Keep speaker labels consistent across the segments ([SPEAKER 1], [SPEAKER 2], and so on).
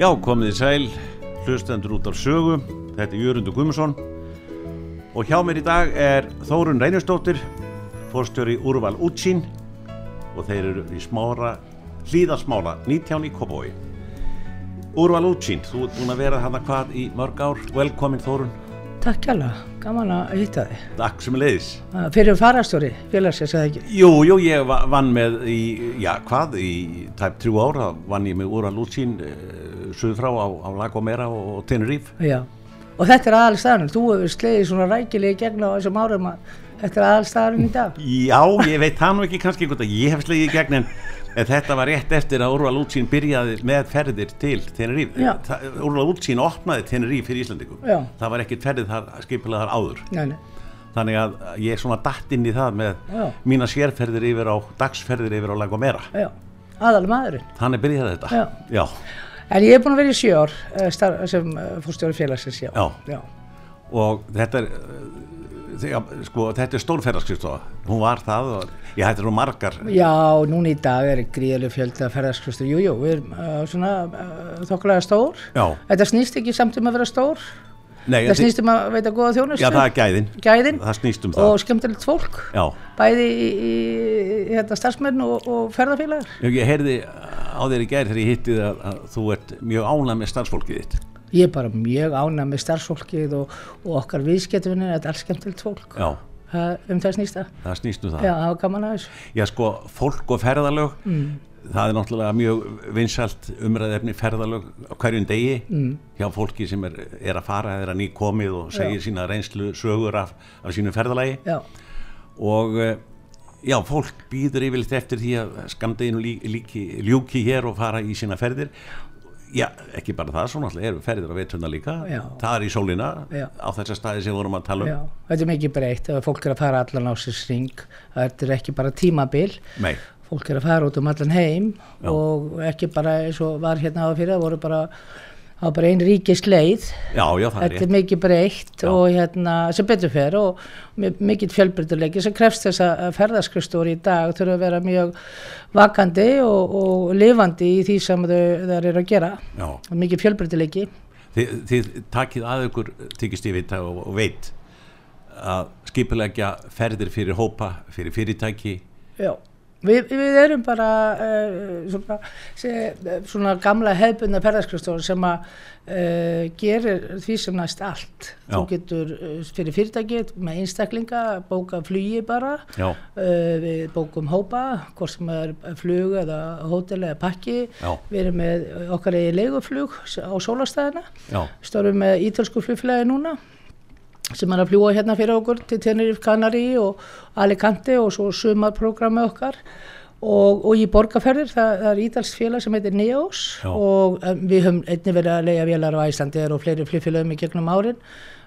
[SPEAKER 1] Já, komið í sæl, hlustendur út af sögu, þetta er Jörgundur Guðmundsson og hjá mér í dag er Þórun Reynistóttir, fórstjóri Úrval Útsín og þeir eru í smára, hlýðasmála, 19 í Kobói. Úrval Útsín, þú ert búin að vera hana hvað í mörg ár, velkomin Þórun,
[SPEAKER 2] Takk kjærlega, gaman að hitta þig.
[SPEAKER 1] takk sem leiðis.
[SPEAKER 2] Uh, Fyrir farastjóri, félagsins eða ekki.
[SPEAKER 1] Jú, jú, ég va- vann með í, já, hvað, í tæp trjú ára vann ég með Úrval Útsín uh, suður frá á, á Lagomera og, og Tenerife.
[SPEAKER 2] Já. Og þetta er aðalstæðanum, þú hefur slegið svona rækilega gegna á þessum árum að þetta er aðalstæðanum í dag.
[SPEAKER 1] Já, ég veit það nú ekki kannski einhvern veginn, ég hef slegið í gegn en, en þetta var rétt eftir að Úrval Útsín byrjaði með ferðir til Teneríf.
[SPEAKER 2] Já.
[SPEAKER 1] Úrval Útsín opnaði Teneríf fyrir Íslandingum.
[SPEAKER 2] Já.
[SPEAKER 1] Það var ekkert ferðið þar, skipilega þar áður.
[SPEAKER 2] Nei, nei.
[SPEAKER 1] Þannig að ég svona datt inn í það með
[SPEAKER 2] Já.
[SPEAKER 1] mína sérferðir yfir á, dagsferðir yfir á Langomera.
[SPEAKER 2] Já, aðal maðurinn.
[SPEAKER 1] Þannig byrjaði þetta.
[SPEAKER 2] Já.
[SPEAKER 1] Já.
[SPEAKER 2] En ég er búin að vera í sjö ár eh, star, sem uh, fórstjóri félagsins, já.
[SPEAKER 1] Já.
[SPEAKER 2] Já,
[SPEAKER 1] Og þetta er, uh, þegar, sko, þetta er stórferðarskristofa. Hún var það og ég hætti nú margar.
[SPEAKER 2] Já, núna í dag er gríðileg fjölda ferðarskvistur, jú, jú, við erum uh, svona uh, þokkulega stór.
[SPEAKER 1] Já.
[SPEAKER 2] Þetta snýst ekki samt um að vera stór,
[SPEAKER 1] Nei,
[SPEAKER 2] þetta snýst um að veita góða þjónustu.
[SPEAKER 1] Já, það er gæðin.
[SPEAKER 2] Gæðin.
[SPEAKER 1] Það snýst um það.
[SPEAKER 2] og skemmtilegt fólk
[SPEAKER 1] Já.
[SPEAKER 2] bæði í, í, í þetta starfsmenn og, og ferðarfélagar
[SPEAKER 1] Ég ég heyrði á þér í gær þegar ég hitti þið að, að þú ert mjög ánað með starfsfólkið þitt.
[SPEAKER 2] ég er bara mjög ánað með starfsfólkið og, og okkar viðskiptvinni þetta er alls skemmtilegt fólk
[SPEAKER 1] Já,
[SPEAKER 2] Það- um þess nýsta
[SPEAKER 1] það snýst um það.
[SPEAKER 2] Já, það var gaman að þessu.
[SPEAKER 1] Já, sko, fólk og ferðalög, það er náttúrulega mjög vinsalt umræðefni ferðalög á hverjum degi hjá fólki sem er, er að fara, er að ný komið og segir sína reynslu sögur af, af sínu ferðalagi.
[SPEAKER 2] Já,
[SPEAKER 1] og eh, já, fólk býður yfirleitt eftir því að skamdeginu lí, líki, ljúki hér og fara í sína ferðir já, ekki bara það, svo náttúrulega eru ferðir á veturna líka,
[SPEAKER 2] Já.
[SPEAKER 1] það er í sólina
[SPEAKER 2] Já.
[SPEAKER 1] á þessa staði sem við vorum að tala
[SPEAKER 2] já,
[SPEAKER 1] um
[SPEAKER 2] þetta er mikið breytt ef fólk er að fara allan á sér sring þetta er ekki bara tímabil
[SPEAKER 1] nei,
[SPEAKER 2] fólk er að fara út um allan heim
[SPEAKER 1] Já.
[SPEAKER 2] og ekki bara eins og var hérna á fyrir það voru bara, það var bara ein ríkisleið
[SPEAKER 1] já, já, það er
[SPEAKER 2] Þetta er
[SPEAKER 1] rétt
[SPEAKER 2] mikið breytt
[SPEAKER 1] Já.
[SPEAKER 2] og hérna, sem betur fer og mikið fjölbreytileiki sem krefst þess að ferðarskristóri í dag þurfa að vera mjög vakandi og, og lifandi í því sem þau þar eru að gera.
[SPEAKER 1] já.
[SPEAKER 2] Mikið fjölbreytileiki.
[SPEAKER 1] Þið, þið takið að ykkur tyggist ég vita og, og veit að skipulegja ferðir fyrir hópa, fyrir fyrirtæki
[SPEAKER 2] Já. Við, við erum bara uh, svona, se, eh, svona gamla hefbundna ferðarskristóri sem að uh, gerir því sem næst allt.
[SPEAKER 1] Já.
[SPEAKER 2] Þú getur eh, fyrir fyrirtækið með einstaklinga, bóka flugi bara.
[SPEAKER 1] já,
[SPEAKER 2] Uh, við bókum hópa, hvort sem er flug eða hótel eða pakki.
[SPEAKER 1] Já.
[SPEAKER 2] Við erum með okkar eigi leiguflug s- á sólastæðina.
[SPEAKER 1] já,
[SPEAKER 2] Störfum með ítölsku flugfélagi núna sem er að fljúa hérna fyrir okkur til Tenerife Canary og Alicante og svo sumarprogrammi okkar. Og, og í borgarferðir, það, það er ítalskt félag sem heitir Neos
[SPEAKER 1] Já.
[SPEAKER 2] og um, við höfum einnig verið að leiða vélar á Íslandi og fleiri flugfélagum í gegnum árin.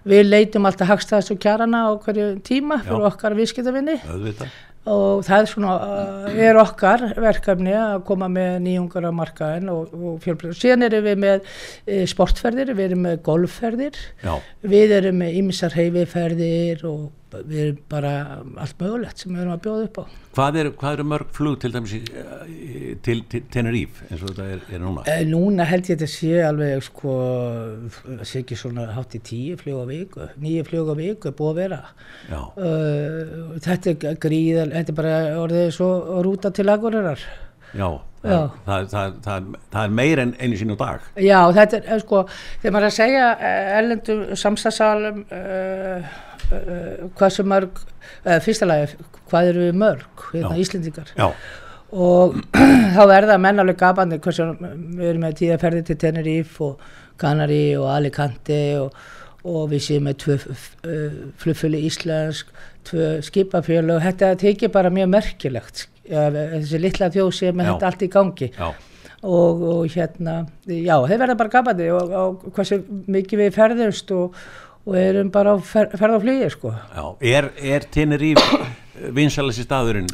[SPEAKER 2] Við leitum alltaf hagstæðast og kjarana á hverju tíma fyrir
[SPEAKER 1] Já.
[SPEAKER 2] okkar viðskiptavinni
[SPEAKER 1] auðvitað
[SPEAKER 2] og það er svona, uh, er okkar verkefni að koma með nýjungar á markaðin og, og fjölbreyður. Síðan erum við með e, sportferðir, við erum með golfferðir,
[SPEAKER 1] já,
[SPEAKER 2] við erum með ymsar heififerðir og við erum bara allt mögulegt sem við erum að bjóða upp á.
[SPEAKER 1] Hvað eru hvað er mörg flug til dæmis í, eh, til, til Tenerife eins og þetta er, er núna?
[SPEAKER 2] E, núna held ég þetta sé alveg sko, það sé ekki svona hátt í tíu fljóð á viku, nýju fljóð á viku er búið að vera.
[SPEAKER 1] Já,
[SPEAKER 2] Uh, þetta er gríðal, þetta er bara orðið svo rúta til agurirar.
[SPEAKER 1] já,
[SPEAKER 2] Já.
[SPEAKER 1] Það, það, það, það, það er meir en einu sín á dag.
[SPEAKER 2] Já, þetta er, eh, sko, þegar maður er að segja eh, erlendum samstagsalum uh, uh, hversu mörg, uh, fyrsta lagi, hvað eru við mörg, hérna
[SPEAKER 1] Já.
[SPEAKER 2] Íslendingar,
[SPEAKER 1] Já,
[SPEAKER 2] og þá er það menn alveg gapandi hversu við erum með tíðaferði til Tenerife og Canary og Alicante og, og við séum með tvö uh, flugfjölu íslensk, tvö skipafjölu og þetta tekið bara mjög merkilegt, eh, þessi litla þjóð sé með
[SPEAKER 1] Já.
[SPEAKER 2] þetta allt í gangi
[SPEAKER 1] já,
[SPEAKER 2] og, og hérna, já, þeir verða bara gapandi og, og hversu mikið við ferðumst og, og erum bara á fer, ferð á flugi, sko.
[SPEAKER 1] já. Er, er Tenerife vinsalessi staðurinn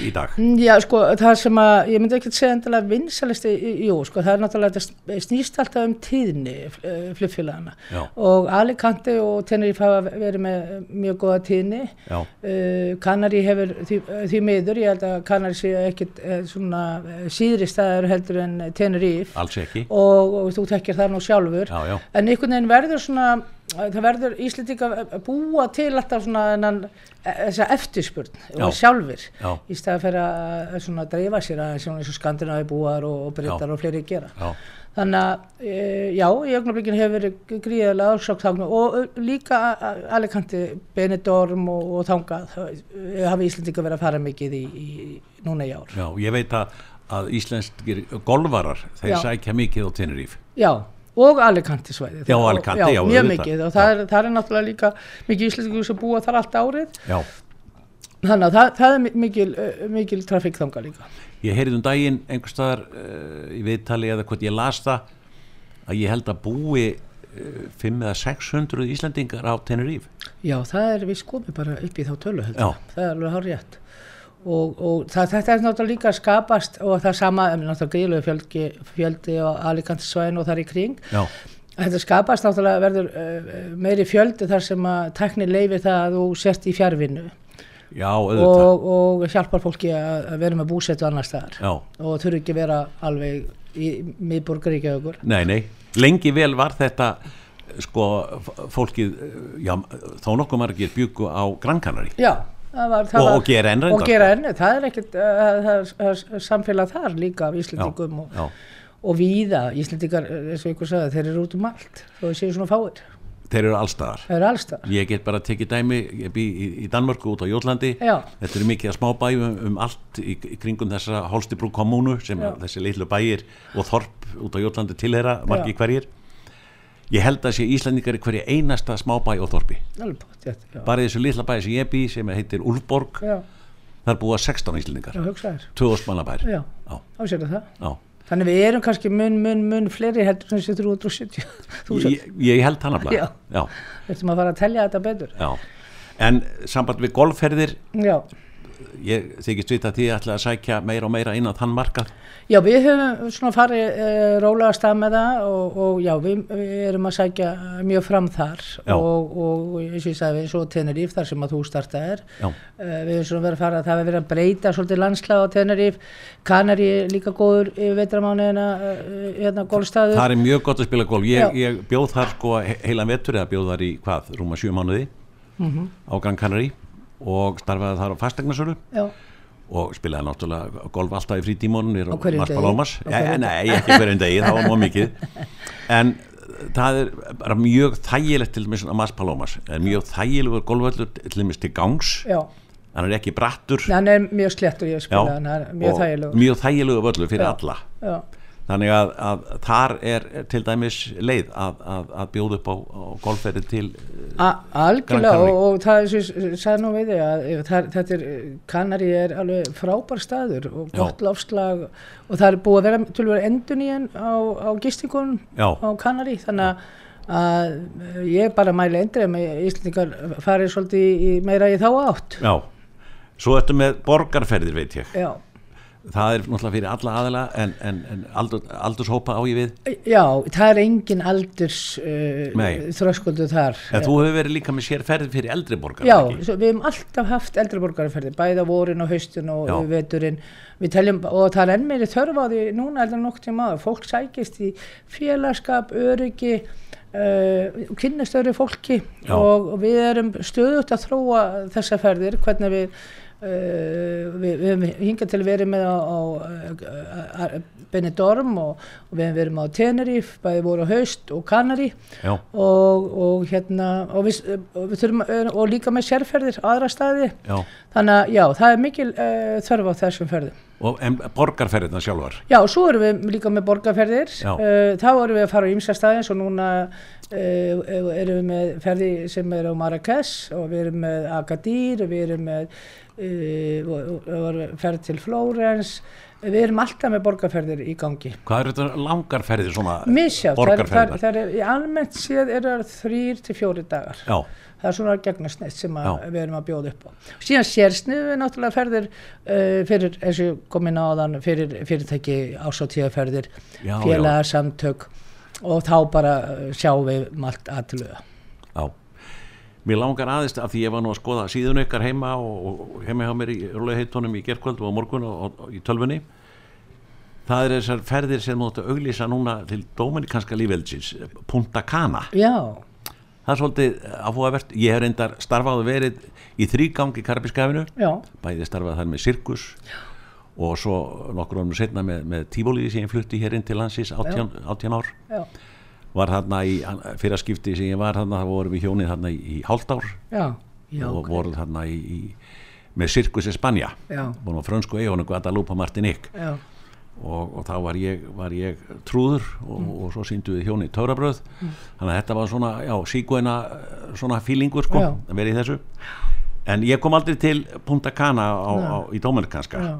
[SPEAKER 1] í dag?
[SPEAKER 2] Já, sko, það sem að, ég myndi ekki segja endilega vinsalesti, jú, sko, það er náttúrulega, þetta sn- snýst alltaf um tíðni eh, flugfélagana
[SPEAKER 1] Já.
[SPEAKER 2] og Alicante og Tenerife hafa verið með mjög góða tíðni.
[SPEAKER 1] Já,
[SPEAKER 2] Uh, Kanari hefur því, því miður, ég held að Kanari séu ekkit eh, svona eh, síðri staðar heldur en Tenerife
[SPEAKER 1] alls ekki.
[SPEAKER 2] og, og þú tekir það nú sjálfur.
[SPEAKER 1] Já, já,
[SPEAKER 2] En einhvern veginn verður svona, eh, það verður Íslendinga að búa til alltaf svona enan, þessa eftirspurn og
[SPEAKER 1] Já.
[SPEAKER 2] sjálfir
[SPEAKER 1] já,
[SPEAKER 2] í stað að fyrir að svona dreifa sér aðeins svona eins og skandinavi búar og, og breytar og fleiri gera.
[SPEAKER 1] já,
[SPEAKER 2] Þannig að e, já, í augnablikinu hefur verið gríðarlega ásóktáknu og ö, líka a- a- Alicante, Benidorm og, og þangað það hafa Íslendinga verið að fara mikið í, í núna í ár.
[SPEAKER 1] já. Ég veit að, að íslenskir golvarar, þeir
[SPEAKER 2] Já.
[SPEAKER 1] sækja mikið á Teneríf.
[SPEAKER 2] Já, og Alicante svæðið.
[SPEAKER 1] Já, Alicante, já,
[SPEAKER 2] Mjög
[SPEAKER 1] auðvitað.
[SPEAKER 2] mikið og það er, það er náttúrulega líka mikið Íslendingur sem búa þar allt árið.
[SPEAKER 1] Já,
[SPEAKER 2] Þannig að það, það er mi- mikil, ö, mikil trafík þangað líka.
[SPEAKER 1] ég heyrði um daginn einhvers staðar uh, í viðtali eða hvort ég las það að ég held að búi uh, 5 eða 600 Íslendingar á Teneríf.
[SPEAKER 2] Já, það er við komið bara upp í þá tölu heldur.
[SPEAKER 1] Já.
[SPEAKER 2] Það er alveg hár rétt. Og, og það, þetta er náttúrulega líka að skapast og það sama, em, náttúrulega gríðlega fjöldi, fjöldi á Alikantisvæðin og þar í kring.
[SPEAKER 1] Já,
[SPEAKER 2] Þetta skapast náttúrulega verður uh, meiri fjöldi þar sem að tæknir leifi það að þú sért í fjárvinnu
[SPEAKER 1] já, auðvitað.
[SPEAKER 2] og, og hjálpar fólki að, að vera með búsetu annar staðar
[SPEAKER 1] Já,
[SPEAKER 2] og þurfi ekki að vera alveg í miðborg Reykjavíkur.
[SPEAKER 1] nei, nei. Lengi vel var þetta sko f- fólkið, eh, já, þó nokkuð margir bjúku á Grankanari.
[SPEAKER 2] Já, það var, það
[SPEAKER 1] Og-
[SPEAKER 2] var,
[SPEAKER 1] og gera enn reyndar,
[SPEAKER 2] og gera enn, það er ekkert uh, það er, það er samfélag þar líka af Íslendingum og,
[SPEAKER 1] Já,
[SPEAKER 2] og víða Íslendingar, eh, eins og ykkur sagði, þeir eru út um allt þó þeir séu svona fáir,
[SPEAKER 1] þeir eru allstaðar.
[SPEAKER 2] þeir eru allstar
[SPEAKER 1] Ég get bara tekið dæmi, ég bý í, í Danmörku út á Jólandi,
[SPEAKER 2] Já,
[SPEAKER 1] þetta eru mikið að smá bæjum um, um allt í, í kringum þessa Holstibrú kommunu sem
[SPEAKER 2] Já.
[SPEAKER 1] þessi litlu bæjir og þorp út á Jólandi tilhera margir
[SPEAKER 2] Já.
[SPEAKER 1] hverjir. Ég held að sé Íslandingar í hverju einasta smábæ og þorpi.
[SPEAKER 2] alveg bótt, já,
[SPEAKER 1] Bara í þessu litla bæ sem ég bý sem heitir Ulfborg,
[SPEAKER 2] já,
[SPEAKER 1] þar búa 16 Íslandingar,
[SPEAKER 2] já, hugsa þér
[SPEAKER 1] 2000 manna bær.
[SPEAKER 2] Já,
[SPEAKER 1] Já,
[SPEAKER 2] ásérðu það
[SPEAKER 1] já.
[SPEAKER 2] Þannig við erum kannski mun, mun, mun fleiri heldur sem séu 370 þúsund,
[SPEAKER 1] Ég, ég held hann að
[SPEAKER 2] Já.
[SPEAKER 1] Já,
[SPEAKER 2] þurftum að fara að telja þetta betur
[SPEAKER 1] já. En samband við golfferðir,
[SPEAKER 2] Já,
[SPEAKER 1] ég þykist vita að því ætla að sækja meira og meira innan þann markað.
[SPEAKER 2] já við höfum svona farið uh, rólega af stað með það og, og já, við, við erum að sækja mjög fram þar
[SPEAKER 1] Já.
[SPEAKER 2] og, og eins og ég sagði við svo Teneríf þar sem að þú startaðir
[SPEAKER 1] Já,
[SPEAKER 2] Uh, við erum svona verið að fara, það hefur verið að breyta svolítið landslag á Tenerife, Kanari líka góður yfir veitramáni hérna, uh, hérna golfstæður.
[SPEAKER 1] það er mjög gott að spila golf.
[SPEAKER 2] Já.
[SPEAKER 1] Ég, ég bjóð þar sko he- heilan vetur eða bjóð þar í hvað, rúma sjö mánuði
[SPEAKER 2] Mhm.
[SPEAKER 1] á Gran Canary og starfaði þar á fastegnasölu
[SPEAKER 2] Já,
[SPEAKER 1] og spilaði náttúrulega golf alltaf í frítímónunir
[SPEAKER 2] Á hverjum degi?
[SPEAKER 1] Palomas.
[SPEAKER 2] Á
[SPEAKER 1] Ja,
[SPEAKER 2] hverjum
[SPEAKER 1] nei, ekki hverjum degi, það var mjög mikið. En það er bara mjög þægilegt til dæmis á Mas Palomas. Það er mjög þægilegur golfvöllur til dæmis til gangs.
[SPEAKER 2] já,
[SPEAKER 1] Hann er ekki brattur.
[SPEAKER 2] Nei, hann er mjög slett og ég
[SPEAKER 1] Já,
[SPEAKER 2] spilaði hann, hann er mjög
[SPEAKER 1] og
[SPEAKER 2] þægilegur.
[SPEAKER 1] Mjög þægilegur völlur fyrir
[SPEAKER 2] Já.
[SPEAKER 1] alla.
[SPEAKER 2] Já,
[SPEAKER 1] Þannig að, að þar er til dæmis leið að, að, að bjóða upp á, á golfferði til
[SPEAKER 2] A-
[SPEAKER 1] Gran
[SPEAKER 2] algjörlega
[SPEAKER 1] Canaria.
[SPEAKER 2] og, og það er svo, sagði nú við þig að eh, það, þetta er, eh, Kanari er alveg frábær staður og
[SPEAKER 1] Já.
[SPEAKER 2] gott lofslag og það er búið að vera tölvöru endun í henn á, á gistingunum
[SPEAKER 1] Já,
[SPEAKER 2] á Kanari þannig að að ég bara mæli endrið með Íslandingar farið svolítið í, meira í þá átt
[SPEAKER 1] já. Svo ertu með borgarferðir veit ég.
[SPEAKER 2] já,
[SPEAKER 1] Það er náttúrulega fyrir alla aðila en, en, en aldur, aldurshópa á ég við.
[SPEAKER 2] já það er engin aldurs uh,
[SPEAKER 1] Nei.
[SPEAKER 2] þröskuldu þar
[SPEAKER 1] En þú hefur verið líka með sér ferði fyrir eldri borgar.
[SPEAKER 2] Já,
[SPEAKER 1] ekki?
[SPEAKER 2] svo, við hefum alltaf haft eldri borgarferði, bæða vorin og haustin og
[SPEAKER 1] Já.
[SPEAKER 2] veturinn, við teljum, og það er enn meiri þörf á því núna heldur en nokkuð tíma áður, fólk sækist í félagskap, öryggi, uh, kynnastöru fólki
[SPEAKER 1] Já.
[SPEAKER 2] og, og við erum stöðut að þróa þessa ferðir, hvernig við, uh, við, við hefum hingað til verið með á, á uh, Benidorm og, og við hefum verið með á Tenerife, bæði voru á haust og Kanari
[SPEAKER 1] Já,
[SPEAKER 2] og, og hérna og við, og við þurfum að, og líka með sérferðir á aðra staði
[SPEAKER 1] já.
[SPEAKER 2] þannig að já, það er mikil uh, þörf á þessum ferðum
[SPEAKER 1] Og, en borgarferðina sjálfar.
[SPEAKER 2] já, og svo erum við líka með borgarferðir
[SPEAKER 1] Já.
[SPEAKER 2] uh, þá erum við að fara á ýmsa staði eins og núna uh, erum við með ferði sem er á Marrakesh og við erum eh, með Agadir og við erum með uh, og, og, og ferð til Flórens Við erum alltaf með borgarferðir í gangi.
[SPEAKER 1] Hvað eru þetta langar ferðir svona?
[SPEAKER 2] Misjá,
[SPEAKER 1] Borgarferðirnar?
[SPEAKER 2] það er, almennt séð eru það þrýr til fjóri dagar.
[SPEAKER 1] Já,
[SPEAKER 2] Það er svona gegnasneitt sem að
[SPEAKER 1] Já.
[SPEAKER 2] við erum að bjóða upp á. Síðan sérsnið við náttúrulega ferðir uh, fyrir, eins og komin áðan, fyrir fyrirtæki ásatíðaferðir,
[SPEAKER 1] Já, já.
[SPEAKER 2] félagasamtök og þá bara eh, sjáum við um allt aðluga.
[SPEAKER 1] já. Mér langar aðeins af því ég var nú að skoða síðun ykkar heima og, og heima hjá mér í rúleiðheitunum í gerkvöld og á morgun og, og, og í tölvunni. Það eru þessar ferðir sem þú ætti að auglýsa núna til Dominikanska lífveldsins, Punta Cana.
[SPEAKER 2] Já,
[SPEAKER 1] Það er svolítið áfugavert. Ég hef reyndar starfað og verið í þrýgang í Karabískafinu.
[SPEAKER 2] já,
[SPEAKER 1] bæði starfað þar með sirkus og svo nokkur ánum setna með, með tífólíði sem ég flutti hér inn til landsins 18, 18 ár
[SPEAKER 2] já,
[SPEAKER 1] var þarna í fyrra skipti sem ég var þarna þá vorum við hjónið þarna í, í hálft ár
[SPEAKER 2] já, já,
[SPEAKER 1] og vorum þarna í, í með sirkus í Spanja
[SPEAKER 2] Já.
[SPEAKER 1] vorum á frönsku eigunum Guadalupe Martinique
[SPEAKER 2] já,
[SPEAKER 1] og, og þá var ég, var ég trúður og,
[SPEAKER 2] Mm.
[SPEAKER 1] og svo síndu við hjónið Törabröð þannig að þetta var svona já, síkvæna svona fílingur sko
[SPEAKER 2] Já.
[SPEAKER 1] að vera í þessu en ég kom aldrei til Punta Cana á, á, í Dómerikanska
[SPEAKER 2] já.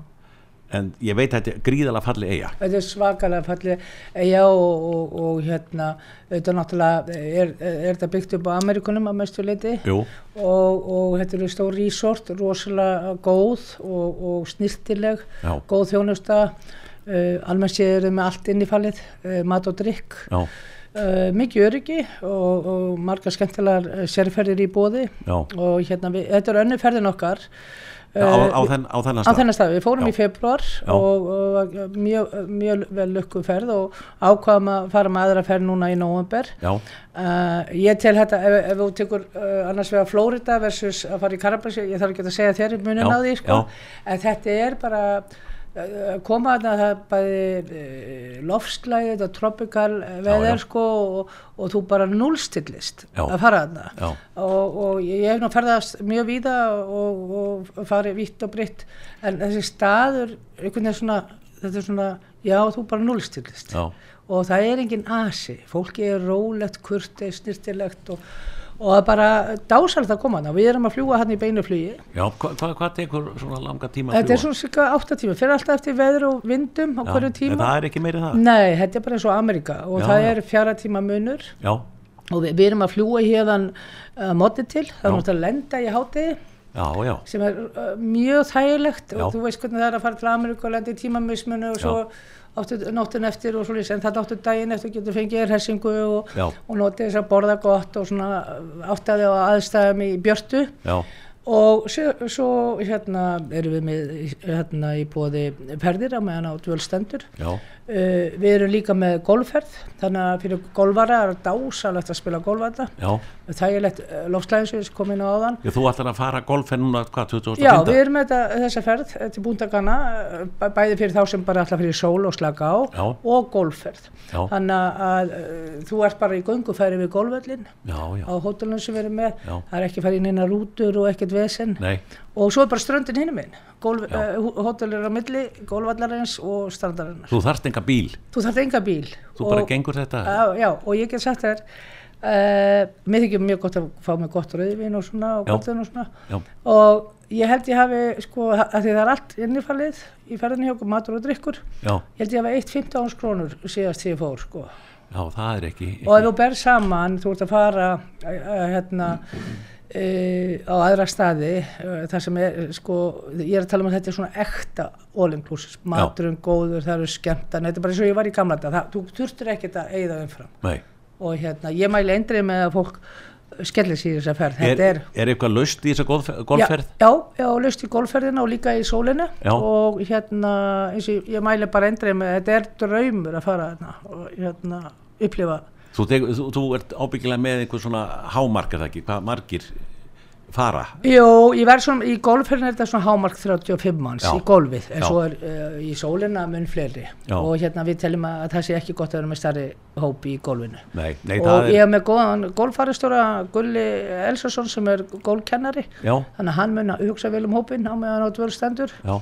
[SPEAKER 1] en ég veit að þetta er gríðalega falli eiga
[SPEAKER 2] Þetta er svakalega fallið, Eh, já og, og, og hérna, þetta náttúrulega eh, er, er þetta byggt upp á Amerikunum að mestu leiti
[SPEAKER 1] Jú,
[SPEAKER 2] og, og þetta eru stór resort, rosalega góð og, og sniltileg,
[SPEAKER 1] Já.
[SPEAKER 2] góð þjónusta, uh, almennt séð eru með allt inn í fallið, uh, mat og drikk,
[SPEAKER 1] já,
[SPEAKER 2] uh, mikið öryggi og, og margar skemmtilegar eh, sérferðir í bóði
[SPEAKER 1] já
[SPEAKER 2] og hérna, við, þetta er önnu ferðin okkar.
[SPEAKER 1] á, á, á,
[SPEAKER 2] Eh,
[SPEAKER 1] þenn, á þennan
[SPEAKER 2] á
[SPEAKER 1] stað
[SPEAKER 2] þennan stað, við fórum
[SPEAKER 1] Já.
[SPEAKER 2] í februar og, og var mjög, mjög vel lukkuð ferð og ákvaðum að fara með aðra ferð núna í nóvember
[SPEAKER 1] Já,
[SPEAKER 2] uh, ég tel þetta, ef, ef þú tekur uh, annars vegar Flórida versus að fara í Karabassi ég þarf ekki að segja þér munin
[SPEAKER 1] Já,
[SPEAKER 2] á því sko.
[SPEAKER 1] já.
[SPEAKER 2] en þetta er bara uh, koma þarna það er bæði uh, lofslæði, þetta tropikal
[SPEAKER 1] Já, já.
[SPEAKER 2] veðar sko og, og þú bara núlstillist
[SPEAKER 1] Já.
[SPEAKER 2] að fara þarna
[SPEAKER 1] já,
[SPEAKER 2] og, og ég hef nú ferðast mjög víða og, og farið vitt og breytt en þessi staður einhvern veginn svona, þetta er svona já þú bara núlstillist
[SPEAKER 1] já,
[SPEAKER 2] og það er enginn asi, fólki er rólegt, kurtið, snirtilegt og, og það er bara dásalegt að koma hana við erum að fljúa hann í beinu flugi
[SPEAKER 1] já Hva- hvað hva tekur svona langa tíma að
[SPEAKER 2] þetta
[SPEAKER 1] fljúga?
[SPEAKER 2] er svona cirka 8 tíma, fyrir alltaf eftir veður og vindum á
[SPEAKER 1] Já,
[SPEAKER 2] hverju
[SPEAKER 1] en
[SPEAKER 2] tíma
[SPEAKER 1] Það er ekki meiri en það
[SPEAKER 2] Nei, þetta er bara eins og Amerika og
[SPEAKER 1] Já,
[SPEAKER 2] það
[SPEAKER 1] já.
[SPEAKER 2] er fjara tíma munur
[SPEAKER 1] Já,
[SPEAKER 2] og við, við erum að fljúa hérðan uh, móti til, það
[SPEAKER 1] Já.
[SPEAKER 2] er náttúrulega að lenda í hátiði
[SPEAKER 1] já, já,
[SPEAKER 2] sem er uh, mjög þægilegt
[SPEAKER 1] Já.
[SPEAKER 2] og þú veist hvernig það er að fara til Ameríku og lenda í tímamismunu og svo áttu nóttun eftir og svolítið en það áttu daginn eftir og getur fengið þér hersingu og,
[SPEAKER 1] Já.
[SPEAKER 2] og notið þess að borða gott og svona uh, áttaði á aðstæðum í björtu
[SPEAKER 1] já,
[SPEAKER 2] og svo, svo hérna erum við með hérna í bóði ferðir á meðan á dvölstendur
[SPEAKER 1] já,
[SPEAKER 2] uh, við erum líka með golfferð þannig að fyrir golfara er dásalegt að spila golfata
[SPEAKER 1] já
[SPEAKER 2] þægilegt uh, lofslæðinsins komin á áðan
[SPEAKER 1] Ég, Þú ætlar að fara golfen núna hvað,
[SPEAKER 2] Já, við
[SPEAKER 1] 2015?
[SPEAKER 2] erum með þetta, þessa ferð eh, til búndagana, bæði fyrir þá sem bara ætla fyrir sól og slaka á
[SPEAKER 1] Já.
[SPEAKER 2] og golfferð.
[SPEAKER 1] Já.
[SPEAKER 2] Þannig að, að eh, þú ert bara í göngufæri við golföllin
[SPEAKER 1] Já, já,
[SPEAKER 2] á hótelunum sem við erum með,
[SPEAKER 1] Já.
[SPEAKER 2] það er ekki farið inn einar rútur og ekkert vesen
[SPEAKER 1] nei,
[SPEAKER 2] og svo er bara ströndin hinum minn,
[SPEAKER 1] Já.
[SPEAKER 2] uh, hótel er á milli, golfallarins og strandarinnar.
[SPEAKER 1] þú þarft enga bíl
[SPEAKER 2] Þú þarf enga bíl.
[SPEAKER 1] Þú
[SPEAKER 2] og-
[SPEAKER 1] bara gengur þetta
[SPEAKER 2] Já, já, og ég get sagt þér, uh, mér þykir mjög gott að fá mig gott rauðvin og svona og
[SPEAKER 1] Já.
[SPEAKER 2] gottun og svona
[SPEAKER 1] Já.
[SPEAKER 2] og ég held ég hafi, sko, að því það er allt innifalið í ferðinni hjá okkur, matur og drikkur,
[SPEAKER 1] Já,
[SPEAKER 2] ég held ég hafi eitt 15 krónur síðast því ég fór, sko.
[SPEAKER 1] já, það er ekki
[SPEAKER 2] Og ef þú ber saman, þú ert að fara, eh, eh, hérna, uh, á aðra staði, uh, þar sem er, eh, sko, ég er að tala um að þetta er svona ekta all inclusive, maturinn góður, það eru skemmtan, þetta er bara eins og ég var í gamla þetta, þú þurftir ekkert að eigða umfram
[SPEAKER 1] Nei
[SPEAKER 2] og hérna, ég mæli eindrið með að fólk skellir sér í þessa ferð
[SPEAKER 1] Er,
[SPEAKER 2] þetta er,
[SPEAKER 1] er eitthvað laust í þessa golf, golfferð?
[SPEAKER 2] Já, já, já, laust í golfferðina og líka í sólinu
[SPEAKER 1] Já.
[SPEAKER 2] og hérna, eins og ég- ég mæli bara eindrið með þetta er draumur að fara hérna og hérna, upplifa
[SPEAKER 1] Þú, tek, þú, þú ert ábyggilega með einhver svona hámark er það ekki, hvað margir fara
[SPEAKER 2] Jó, ég verð svona, í golfferðin er þetta svona hámark 35 manns
[SPEAKER 1] Já.
[SPEAKER 2] í golfið en
[SPEAKER 1] Já.
[SPEAKER 2] svo er uh, í sólina mun fleiri
[SPEAKER 1] Já.
[SPEAKER 2] og hérna við teljum að það sé ekki gott að vera með starri hópi í golfinu
[SPEAKER 1] Nei, nei
[SPEAKER 2] og
[SPEAKER 1] það
[SPEAKER 2] ég
[SPEAKER 1] er
[SPEAKER 2] hef með góðan golfaristjóra Gulli Elsason sem er golfkennari
[SPEAKER 1] Já,
[SPEAKER 2] þannig að hann mun að hugsa vel um hópin á meðan á dvörstendur
[SPEAKER 1] já,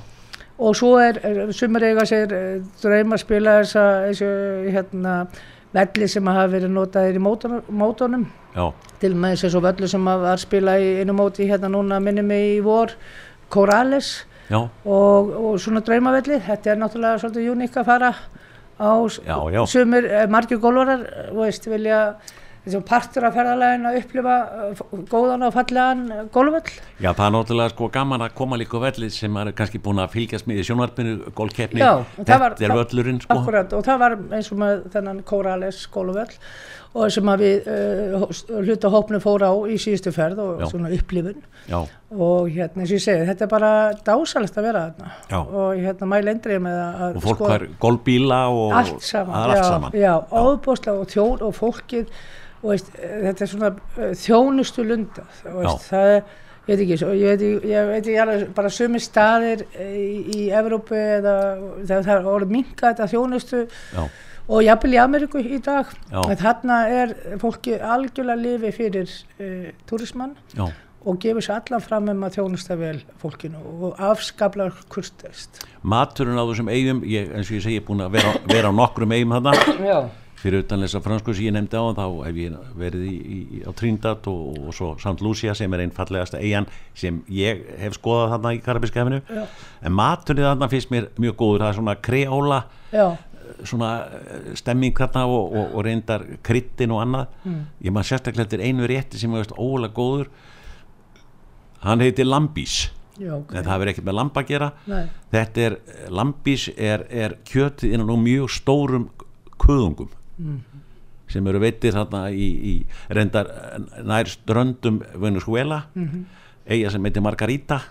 [SPEAKER 2] og svo er, er sumur eiga sér eh, draum að spila þessa, þessu hérna velli sem hafa verið notaðir í mótor- mótunum
[SPEAKER 1] já,
[SPEAKER 2] til með þessu velli sem að var spila í einu móti hérna núna minnum mig í vor Corales
[SPEAKER 1] já,
[SPEAKER 2] og, og svona draumavelli, þetta er náttúrulega svolítið uník að fara á s-
[SPEAKER 1] Já, já.
[SPEAKER 2] sumir, eh, margir gólvarar þú veist, vilja þetta er partur af ferðalægin að upplifa eh, f- góðan og fallegan eh, gólvöll
[SPEAKER 1] já, það er náttúrulega sko gaman að koma líka á velli sem maður er kannski búin að fylgjast með í sjónvarpinu, golfkeppni,
[SPEAKER 2] Já, og það var-
[SPEAKER 1] þetta er völlurinn sko.
[SPEAKER 2] Akkurat, og það var eins og með þennan Kórales skóluvöll og sem að við uh, hluta hópni fóra á í síðustu ferð og
[SPEAKER 1] Já.
[SPEAKER 2] svona upplifun
[SPEAKER 1] Já,
[SPEAKER 2] og hérna eins og ég segi, þetta er bara dásalegt að vera þarna
[SPEAKER 1] Já.
[SPEAKER 2] og hérna mæli endrið með að að
[SPEAKER 1] og fólk
[SPEAKER 2] skoða
[SPEAKER 1] var golfbíla og
[SPEAKER 2] Sko- allt saman,
[SPEAKER 1] það er allt
[SPEAKER 2] já,
[SPEAKER 1] saman.
[SPEAKER 2] já, óbúslega og þjón og fólkið og veist, eh, þetta er svona eh, þjónustu lunda og
[SPEAKER 1] Já.
[SPEAKER 2] veist, það er Ég veit ekki, svo- ég veit ekki, ég veit ekki alveg, bara sumi staðir eh, í, í Evrópu eða þegar það er orðið minka þetta þjónustu
[SPEAKER 1] Já,
[SPEAKER 2] og jafnvel í Ameríku í dag
[SPEAKER 1] Já.
[SPEAKER 2] en þarna er fólki algjörlega lifi fyrir uh, turismann
[SPEAKER 1] já,
[SPEAKER 2] og gefur sér allan fram um að þjónusta vel fólkinu og afskabla kurstest
[SPEAKER 1] maturinn á þessum eigum, ég, eins og ég segi, ég er búin að vera, vera á nokkrum eigum þarna,
[SPEAKER 2] Já,
[SPEAKER 1] fyrir utan þess að fransku sem ég nefndi á þá hef ég verið í, í, á Trinidad og, og svo St. Lucia sem er einn fallegasta eigan sem ég hef skoðað þarna í Karabískafinu
[SPEAKER 2] Já.
[SPEAKER 1] en maturinn þarna finnst mér mjög góður það er svona kreóla
[SPEAKER 2] já,
[SPEAKER 1] svona eh, stemming þarna og, og, og reyndar kryttin og annað ég maður sérstaklega eftir einu rétti sem ég veist ólega góður hann heitir Lambís
[SPEAKER 2] já, ok.
[SPEAKER 1] en það hefur ekkert með lamb að gera
[SPEAKER 2] Nei.
[SPEAKER 1] þetta er, lambís er, er kjötið innan úr mjög stórum kuðungum sem eru veitir þarna í, í reyndar eh, nær ströndum Venezuela eiga sem heitir Margarita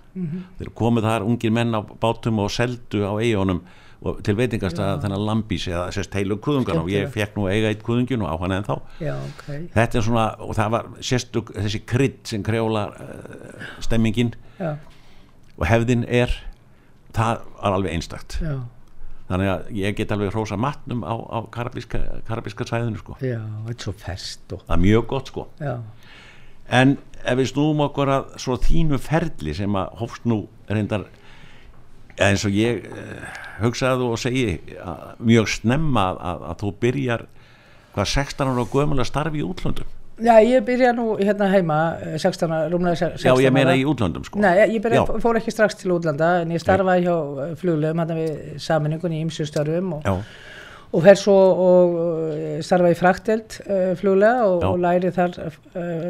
[SPEAKER 1] þeir komu þar ungir menn á bátum og seldu á eigunum og til veitingast að þennan lambís eða sérst heilu kuðungan og ég
[SPEAKER 2] Skemmtilegt.
[SPEAKER 1] fekk nú að eiga eitt kuðungin og á hann ennþá
[SPEAKER 2] já, ok,
[SPEAKER 1] þetta er svona og það var sérstök þessi krydd sem kreóla uh, stemmingin
[SPEAKER 2] já,
[SPEAKER 1] og hefðin er það er alveg einstakt
[SPEAKER 2] já,
[SPEAKER 1] þannig að ég get alveg hrósa matnum á, á karabíska, karabíska sæðinu sko.
[SPEAKER 2] já, þetta er svo fest og,
[SPEAKER 1] það er mjög gott sko
[SPEAKER 2] já,
[SPEAKER 1] en ef við snúum okkur að svo þínu ferli sem að hófst nú reyndar eins og ég eh, hugsaði og segi að, mjög snemma að, að, að þú byrjar hvað 16 ára og gömul að starfi í útlöndum
[SPEAKER 2] já, ég byrja nú hérna heima eh, 16, ára- rúmlega se- 16
[SPEAKER 1] já ég meina
[SPEAKER 2] ára.
[SPEAKER 1] í útlöndum sko
[SPEAKER 2] Nei, ég- ég byrja,
[SPEAKER 1] já,
[SPEAKER 2] fór ekki strax til útlanda en ég starfaði hjá eh, fluglegum hann við saminningunni í ymsustörfum og,
[SPEAKER 1] já,
[SPEAKER 2] og fer svo og eh, starfa í frakteld uh, fluglega og,
[SPEAKER 1] Já.
[SPEAKER 2] og læri þar uh,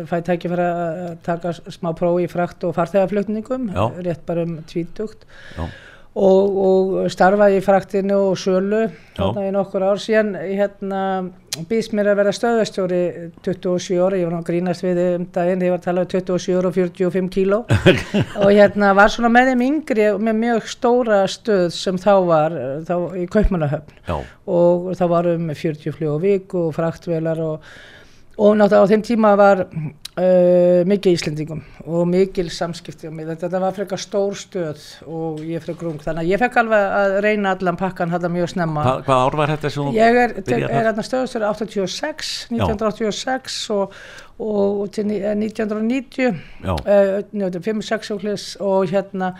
[SPEAKER 2] fæ tækifæra að taka s- smá prófi í frakt og farþegaflutningum
[SPEAKER 1] Já.
[SPEAKER 2] eh, rétt bara um tvítugt
[SPEAKER 1] já,
[SPEAKER 2] og, og starfaði í fraktinu og sölu þarna í nokkur ár síðan hérna, býðst mér að vera stöðastjóri 27 ára, ég var nú að grínast við þig um daginn, þegar ég var að tala um 27 ára og 45 kíló og hérna var svona með þeim yngri og með mjög stóra stöð sem þá var eh, þá, í Kaupmannahöfn
[SPEAKER 1] já,
[SPEAKER 2] og það var um 40 fljóð á viku og fraktvelar og, og náttúrulega á þeim tíma var uh, mikið Íslendingum og mikil samskipti á mig, þetta, þetta var frekar stór stöð og ég frekar ung þannig að ég fekk alveg að reyna allan pakkan þetta mjög snemma
[SPEAKER 1] Hva, hvað ár var þetta sem þú
[SPEAKER 2] Ég er, til,
[SPEAKER 1] byrjar
[SPEAKER 2] er
[SPEAKER 1] þar?
[SPEAKER 2] hérna stöðustöru 86,
[SPEAKER 1] Já.
[SPEAKER 2] 1986 og, og til ni- eh, 1990,
[SPEAKER 1] Já.
[SPEAKER 2] eh, 95-6 og hlis og hérna,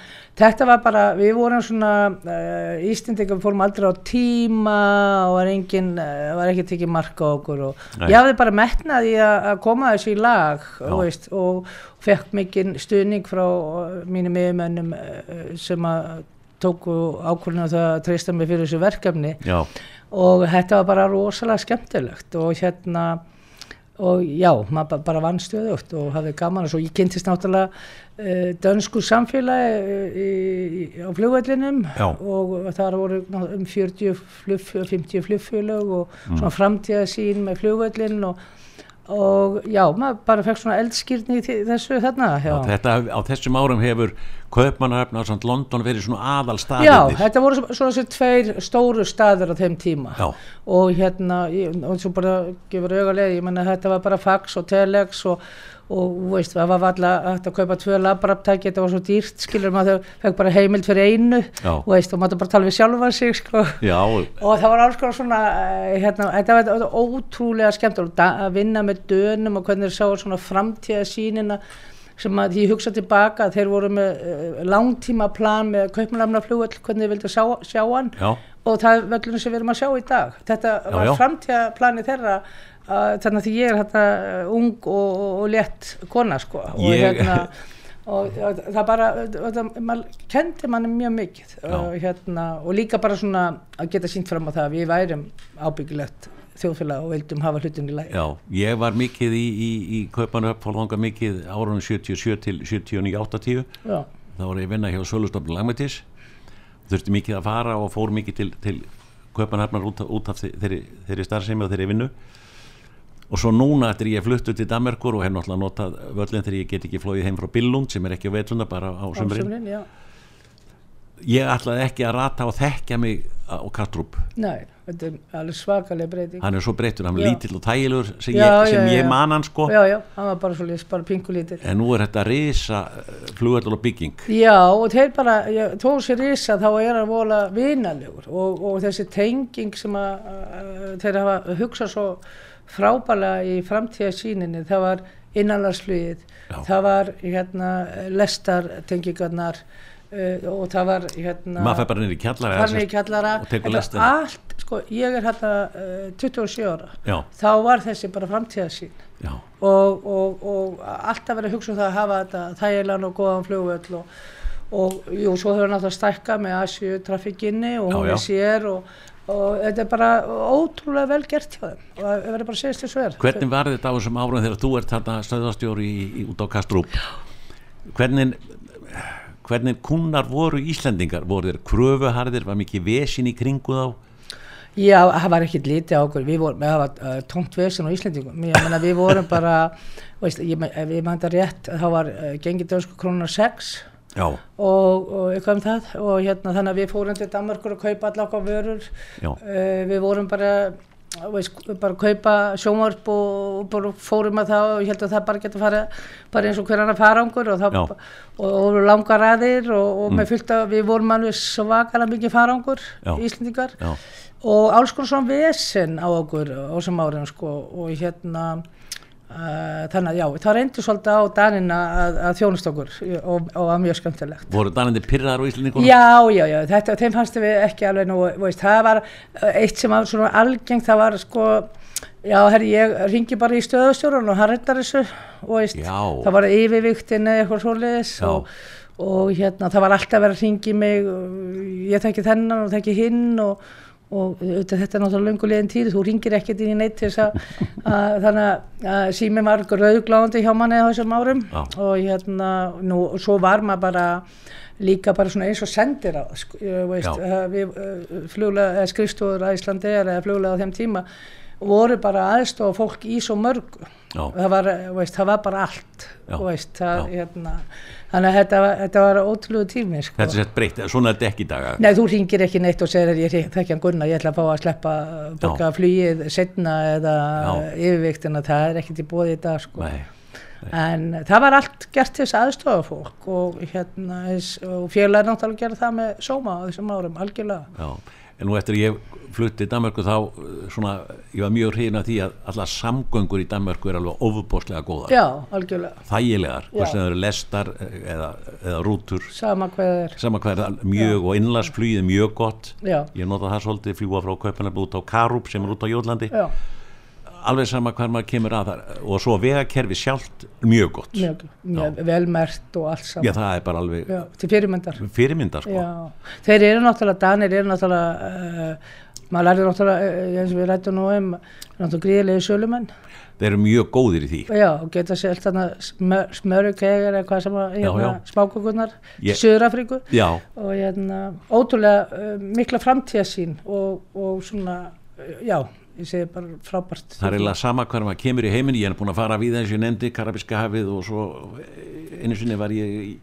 [SPEAKER 2] þetta var bara, við vorum svona, uh, Íslendingum fórum aldrei á tíma og var engin, uh, var ekki tekið marka á okkur og
[SPEAKER 1] Nei.
[SPEAKER 2] ég hafði bara metnað í að að koma þessu í lag
[SPEAKER 1] Já.
[SPEAKER 2] þú veist, og fekk mikinn stuðning frá eh, mínum yfirmönnum eh, sem að tóku ákvörðinu að það að treysta mig fyrir þessu verkefni
[SPEAKER 1] já,
[SPEAKER 2] og þetta var bara rosalega skemmtilegt og hérna og já, maður ba- bara vann stöðugt og hafði gaman og svo ég kynntist náttúrulega uh, dönsku samfélagi uh, í, í, á flugvellinum
[SPEAKER 1] Já.
[SPEAKER 2] og þar voru ná- um 40 flugf, 50 flugfélög og
[SPEAKER 1] Mm.
[SPEAKER 2] svona framtíðasín með flugvellin og, og já, maður bara fekk svona eldskýrni í þi- þessu þarna já.
[SPEAKER 1] Já, þetta, á þessum árum hefur Kaupmannahöfn ásamt London verið svona aðalstaðinir
[SPEAKER 2] Já, þetta voru svo- svona þessi tveir stóru staðir á þeim tíma
[SPEAKER 1] Já.
[SPEAKER 2] og hérna, ég- og svo bara gefur augalega, ég menna þetta var bara fax og telex og, og þú veist, það var alltaf að hægt að kaupa tvö labraptæki, þetta var svo dýrt, skilur maður fekk bara heimild fyrir einu
[SPEAKER 1] Já.
[SPEAKER 2] þú veist, og maður bara tala við sjálfa sig sko.
[SPEAKER 1] Já,
[SPEAKER 2] og það var alls konar svona eh, hérna, þetta var þetta var ótrúlega skemmt að vinna með dönum og hvernig þeir sáu svona framtíðasýnina sem að ég hugsa tilbaka að þeir voru með uh, langtíma plan með kaupmannaflugvöll hvernig þeir vildu sjá, sjá hann
[SPEAKER 1] já,
[SPEAKER 2] og það er völlunum sem við erum að sjá í dag þetta
[SPEAKER 1] Já,
[SPEAKER 2] var
[SPEAKER 1] já.
[SPEAKER 2] framtíðaplani þeirra uh, þannig að því ég er hérna eh, ung og, og, og létt kona sko og
[SPEAKER 1] Ég-
[SPEAKER 2] hérna og, og það bara, og það, maður kendi manni mjög mikið og, hérna, og líka bara svona að geta sínt fram á það að við værum ábyggilegt þjóðfélag og vildum hafa hlutin í læg.
[SPEAKER 1] Já, ég var mikið í, í, í Kaupanöf og langa mikið árunum 77 til 79, 80
[SPEAKER 2] Já,
[SPEAKER 1] þá var ég að vinna hjá Sölustofn Lagmættis þurfti mikið að fara og fór mikið til, til Kaupanöfnar út, af- út af þe- þeirri, þeirri starfsemi og þeirri vinnu og svo núna eftir ég fluttu til Danmarkur og hef náttúrulega notað völlin þegar ég get ekki flóið heim frá Billund sem er ekki á vetlunda bara á
[SPEAKER 2] á
[SPEAKER 1] sömurinn
[SPEAKER 2] sumrin, já.
[SPEAKER 1] ég ætlaði ekki að rata og þekkja mig á Kattrup
[SPEAKER 2] Nei, þetta er alveg svakalega breyting.
[SPEAKER 1] hann er svo breyttur, hann er
[SPEAKER 2] Já.
[SPEAKER 1] lítill og tægilegur sem,
[SPEAKER 2] Já,
[SPEAKER 1] ég, sem
[SPEAKER 2] já,
[SPEAKER 1] ég
[SPEAKER 2] já.
[SPEAKER 1] man hann sko
[SPEAKER 2] Já, já, hann var bara svolítið, bara pingulítið.
[SPEAKER 1] en nú er þetta risa flugöldal og bygging
[SPEAKER 2] Já, og þeir bara, ég, þó sér ísa þá er hann vola vinalegur og, og þessi tenging sem að, að þeir hafa hugsað svo frábælega í framtíðasýninni, það var innanlandsflugið,
[SPEAKER 1] Já.
[SPEAKER 2] það var hérna lestartengingarnar uh, og það var hérna...
[SPEAKER 1] maður fær bara niður í kjallara
[SPEAKER 2] Þannig í kjallara,
[SPEAKER 1] og tekur
[SPEAKER 2] þetta var
[SPEAKER 1] lestina.
[SPEAKER 2] allt, sko, ég er hérna uh, 27 ára,
[SPEAKER 1] já,
[SPEAKER 2] þá var þessi bara framtíðasýn
[SPEAKER 1] já,
[SPEAKER 2] og, og, og alltaf verið að hugsa um það að hafa þetta þægilegan og góðan flugvöll og, og jú, svo þau eru náttúrulega að stækka með Asju trafikkinni og
[SPEAKER 1] Já,
[SPEAKER 2] hún
[SPEAKER 1] já.
[SPEAKER 2] er sér og, og þetta er bara ótrúlega vel gert hjá þeim og það verður bara að segja þessu verð
[SPEAKER 1] hvernig var þetta á þessum árum þegar þú ert þarna stöðastjóri í, í, út á Kastrup hvernig hvernig kunnar voru Íslendingar voru þeir kröfuharðir, var mikið vesin í kringu þá
[SPEAKER 2] Já, það var ekkert lítið á okkur, við vorum, það var uh, tómt vesen á Íslendingum, ég meina við vorum bara, veist, ég, me- ef ég meina þetta rétt, þá var uh, gengið dönsku krónar 6
[SPEAKER 1] já,
[SPEAKER 2] og, og eitthvað um það og hérna þannig að við fórum til Danmarkur að kaupa allar okkar vörur
[SPEAKER 1] Já.
[SPEAKER 2] Eh, við vorum bara þú veist, bara að kaupa sjónvarp og, og bara fórum að það og ég held að það bara geta fara bara eins og hver annar farangur og, það,
[SPEAKER 1] Já. Mm.
[SPEAKER 2] og, og langar aðir og, og með fylgta, við vorum alveg svakalega mikið farangur,
[SPEAKER 1] Já.
[SPEAKER 2] Íslendingar
[SPEAKER 1] já,
[SPEAKER 2] og alls konar svona vesen á okkur á þessum áriðum sko og hérna uh, þannig að já, það reyndi svolítið á danina að, að þjónust okkur og, og var mjög skemmtilegt
[SPEAKER 1] voru danandi pyrraðar á Íslendingunum
[SPEAKER 2] Já, já, já, þetta, þeim fannst við ekki alveg nú, veist, það var uh, eitt sem var svona algengt, það var sko, já, herri, ég ringi bara í stöðustjórun og hann rettar þessu, og veist,
[SPEAKER 1] Já.
[SPEAKER 2] það var yfirviktin eða eitthvað svoleiðis
[SPEAKER 1] Já.
[SPEAKER 2] og, og hérna, það var alltaf verið að ringi mig, og ég þekki þennan og þekki hinn og, og auðvitað, þetta er náttúrulega löngu liðin tíð, þú ringir ekkert inn í neitt til þess að, að þannig að- að sími var rauðgláðandi hjá manni á þessum árum
[SPEAKER 1] Já.
[SPEAKER 2] og hérna, nú, og svo var maður bara líka bara svona eins og sendir á sko, eh, veist,
[SPEAKER 1] Já.
[SPEAKER 2] eh, við eh, fluglega, eh, skrifstofur að Íslandi eða fluglega á þeim tíma voru bara aðstofa fólk í svo mörgu
[SPEAKER 1] Já.
[SPEAKER 2] það var, eh, veist, það var bara allt
[SPEAKER 1] Já.
[SPEAKER 2] veist, það,
[SPEAKER 1] Já.
[SPEAKER 2] hérna, þannig að þetta, var- þetta var ótrúlega tími sko.
[SPEAKER 1] þetta er sett breytt, svona er þetta ekki í dag
[SPEAKER 2] Nei, þú ringir ekki neitt og segir að ég hring- þekki hann Gunnar, ég ætla að fá að sleppa eh, borga flugið setna eða
[SPEAKER 1] Já.
[SPEAKER 2] yfirviktina, það er ekkert í bóði í dag sko.
[SPEAKER 1] Nei.
[SPEAKER 2] En það var allt gert til þess aðstofa fólk og, hérna, eins- og félagar náttúrulega gera það með sóma á þessum árum, algjörlega.
[SPEAKER 1] Já, en nú eftir að ég flutti í Danmörku þá uh, svona, ég var mjög hrifin af því að allar samgöngur í Danmörku er alveg ofubóslega góðar,
[SPEAKER 2] Já, algjörlega.
[SPEAKER 1] þægilegar, hvort
[SPEAKER 2] Já.
[SPEAKER 1] sem það eru lestar eh, eða, eða rútur,
[SPEAKER 2] Sama hvað það er.
[SPEAKER 1] sama hvað er það, mjög og innlagsflugið er mjög gott.
[SPEAKER 2] Já,
[SPEAKER 1] Ég nota það svolítið fljúa frá Kaupanabli út á Karup sem er út á Jólandi,
[SPEAKER 2] já,
[SPEAKER 1] alveg sama hvað maður kemur að þar og svo vegakerfi sjálft mjög gott.
[SPEAKER 2] mjög, mjög velmert og allt
[SPEAKER 1] Já,
[SPEAKER 2] saman.
[SPEAKER 1] það er bara alveg
[SPEAKER 2] Já, til fyrirmyndar.
[SPEAKER 1] fyrirmyndar sko.
[SPEAKER 2] Já, þeir eru náttúrulega, Danir eru náttúrulega, uh, maður lærði náttúrulega, uh, eins og við rættum nú um, náttúrulega gríðilegi sölumenn.
[SPEAKER 1] Þeir eru mjög góðir í því.
[SPEAKER 2] Já, og geta selt þarna smör, smörukegar eða hvað sem að, hérna,
[SPEAKER 1] já.
[SPEAKER 2] smákökurnar,
[SPEAKER 1] Ég-
[SPEAKER 2] Suðurafríku.
[SPEAKER 1] Já,
[SPEAKER 2] og hérna, ótrúlega uh, mikla framtíðasín og, og svona, uh, já, ég segi bara frábært.
[SPEAKER 1] Það er eiginlega sama hvað maður kemur í heiminn, ég er búin að fara við eins og ég nefndi Karabíska hafið og svo eh, einu sinni var ég í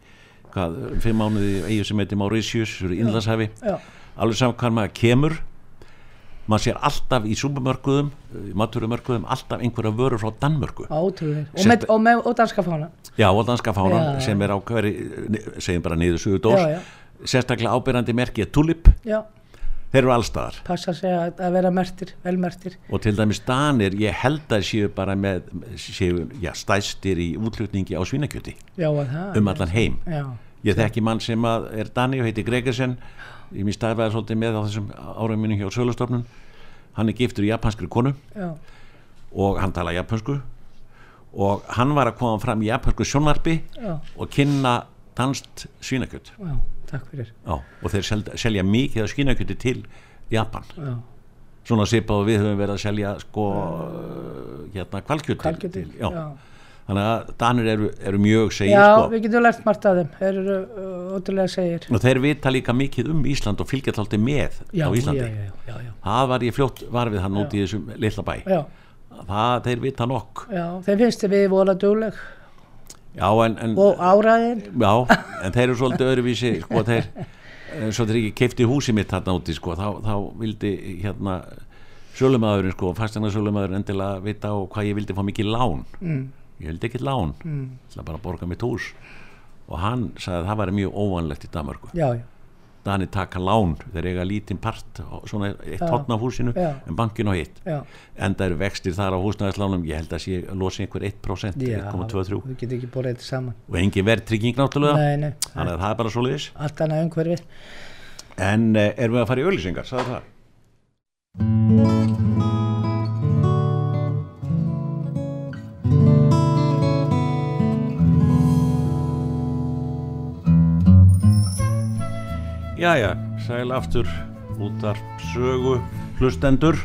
[SPEAKER 1] hvað, fimm mánuði eigið sem heiti Mauritius, svo er innlandshafi,
[SPEAKER 2] Já,
[SPEAKER 1] alveg sama hvað maður kemur, maður sér alltaf í súbumörkuðum, maturumörkuðum, alltaf einhverja vörur frá Danmörku.
[SPEAKER 2] ótrúlega. Og,
[SPEAKER 1] Sérst-
[SPEAKER 2] með, og, með, og danska fána.
[SPEAKER 1] Já, og danska fánan
[SPEAKER 2] Já.
[SPEAKER 1] sem er á hverju, segjum bara niður suðu dós,
[SPEAKER 2] Já, já.
[SPEAKER 1] sérstaklega ábyrrandi merkið tulip,
[SPEAKER 2] Já,
[SPEAKER 1] þeir eru allstaðar.
[SPEAKER 2] passa sig að, að vera mertir, velmertir.
[SPEAKER 1] og til dæmis Danir, ég held að séu bara með, séu, já, stæstir í útlutningi á svínakjöti
[SPEAKER 2] Já, að það.
[SPEAKER 1] um allan heim.
[SPEAKER 2] Já,
[SPEAKER 1] Ég þekki mann sem að er Dani og heiti Gregersen, ég mér starfaði svolítið með á þessum árum minni hjá Sölustofnun, hann er giftur í japanskri konu
[SPEAKER 2] já,
[SPEAKER 1] og hann tala japansku og hann var að koma fram í japansku sjónvarpi
[SPEAKER 2] Já.
[SPEAKER 1] og kynna danst svínakjöt
[SPEAKER 2] já, takk fyrir
[SPEAKER 1] Já, og þeir selja, selja mikið af svínakjöti til Japan
[SPEAKER 2] já,
[SPEAKER 1] svona sipað og við höfum verið að selja sko hérna kvalkjöti
[SPEAKER 2] Hvalkjöti,
[SPEAKER 1] til, já.
[SPEAKER 2] já.
[SPEAKER 1] þannig að danir eru, eru mjög segir
[SPEAKER 2] já
[SPEAKER 1] sko
[SPEAKER 2] við getum lært margt af þeim þeir eru uh, ótrúlega segir
[SPEAKER 1] og þeir vita líka mikið um Ísland og fylgja alltaf með
[SPEAKER 2] já,
[SPEAKER 1] á Íslandi
[SPEAKER 2] já, já, já, já,
[SPEAKER 1] það var ég fljótt var við hann út í þessum litla bæ
[SPEAKER 2] já,
[SPEAKER 1] það, þeir vita nokk
[SPEAKER 2] já þeim finnst við vola dugleg
[SPEAKER 1] já en, en,
[SPEAKER 2] og áræðin
[SPEAKER 1] já, en þeir eru svolítið öðruvísi sko þeir eins og þeir ekki keifti húsi mitt þarna úti sko þá, þá vildi hérna sölumæðurinn sko, fastegna sölumæðurinn endilega vita og hvað ég vildi fá mikið lán mm. ég vildi ekkit lán mm. það bara að borga mitt hús og hann sagði að það væri mjög óvanlegt í Danmörku
[SPEAKER 2] já, já,
[SPEAKER 1] Danir taka lán, þeir eiga lítinn part svona eitt hotn af húsinu
[SPEAKER 2] Já.
[SPEAKER 1] en bankin á hitt
[SPEAKER 2] já,
[SPEAKER 1] en það eru vextir þar á húsnæðislánum ég held að sé losi einhver 1%
[SPEAKER 2] já
[SPEAKER 1] 1,23
[SPEAKER 2] við getum ekki borðið þetta saman
[SPEAKER 1] og engin verðtrygging náttúrulega
[SPEAKER 2] nei, nei,
[SPEAKER 1] þannig að það er bara svo liðis
[SPEAKER 2] allt annað umhverfi
[SPEAKER 1] en eh, erum við að fara í auðlýsingar, sagði það Jæja, sæl aftur útarp sögu hlustendur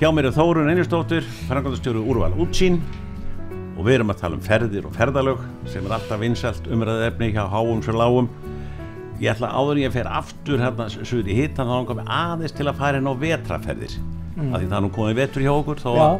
[SPEAKER 1] Hjá mér er Þórun Einnistóttir, frangandastjóru Úrval Útsín og við erum að tala um ferðir og ferðalög sem er alltaf vinsælt umræðefni hjá háum sem lágum ég ætla áður en ég fer aftur hérna suður í hittan þá langar við aðeins til að fara inn á vetraferðir
[SPEAKER 2] Mm.
[SPEAKER 1] af því það er nú komið vetur hjá okkur þá að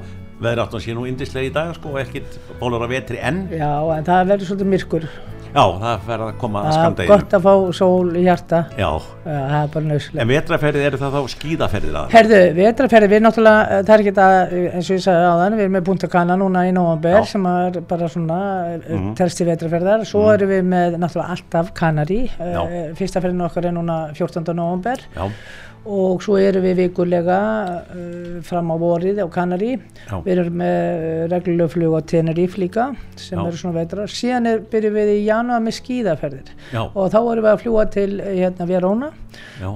[SPEAKER 1] veður áttan sé nú indislega í dag sko og ekkit bólar að vetri enn já,
[SPEAKER 2] já, en það verður svolítið myrkur
[SPEAKER 1] það fer að koma að
[SPEAKER 2] það er
[SPEAKER 1] skamdeginu
[SPEAKER 2] gott að fá sól í hjarta já,
[SPEAKER 1] já,
[SPEAKER 2] það er bara nöðslega
[SPEAKER 1] en vetraferðir eru það þá skíðaferðir að
[SPEAKER 2] Herðu, vetrarferði, við náttúrulega, eh, það er ekki það, eins og ég sagði áðan, við erum með Punta Cana núna í november
[SPEAKER 1] Já. Mhm.
[SPEAKER 2] sem er bara svona mm -hmm. tersti vetrarferðar, svo erum við með náttúrulega alltaf Kanari,
[SPEAKER 1] Já.
[SPEAKER 2] uh, fyrsta ferðin okkar er núna 14. november
[SPEAKER 1] já,
[SPEAKER 2] og svo erum við vikulega uh, fram á vorið á Kanari,
[SPEAKER 1] Já.
[SPEAKER 2] við erum með uh, reglulega flug á Tenerife líka sem
[SPEAKER 1] Já.
[SPEAKER 2] eru svona vetrar, síðan er, byrjum við í janúar með skíðaferðir
[SPEAKER 1] Já.
[SPEAKER 2] og þá erum við að fljúa til eh, hérna Verona
[SPEAKER 1] já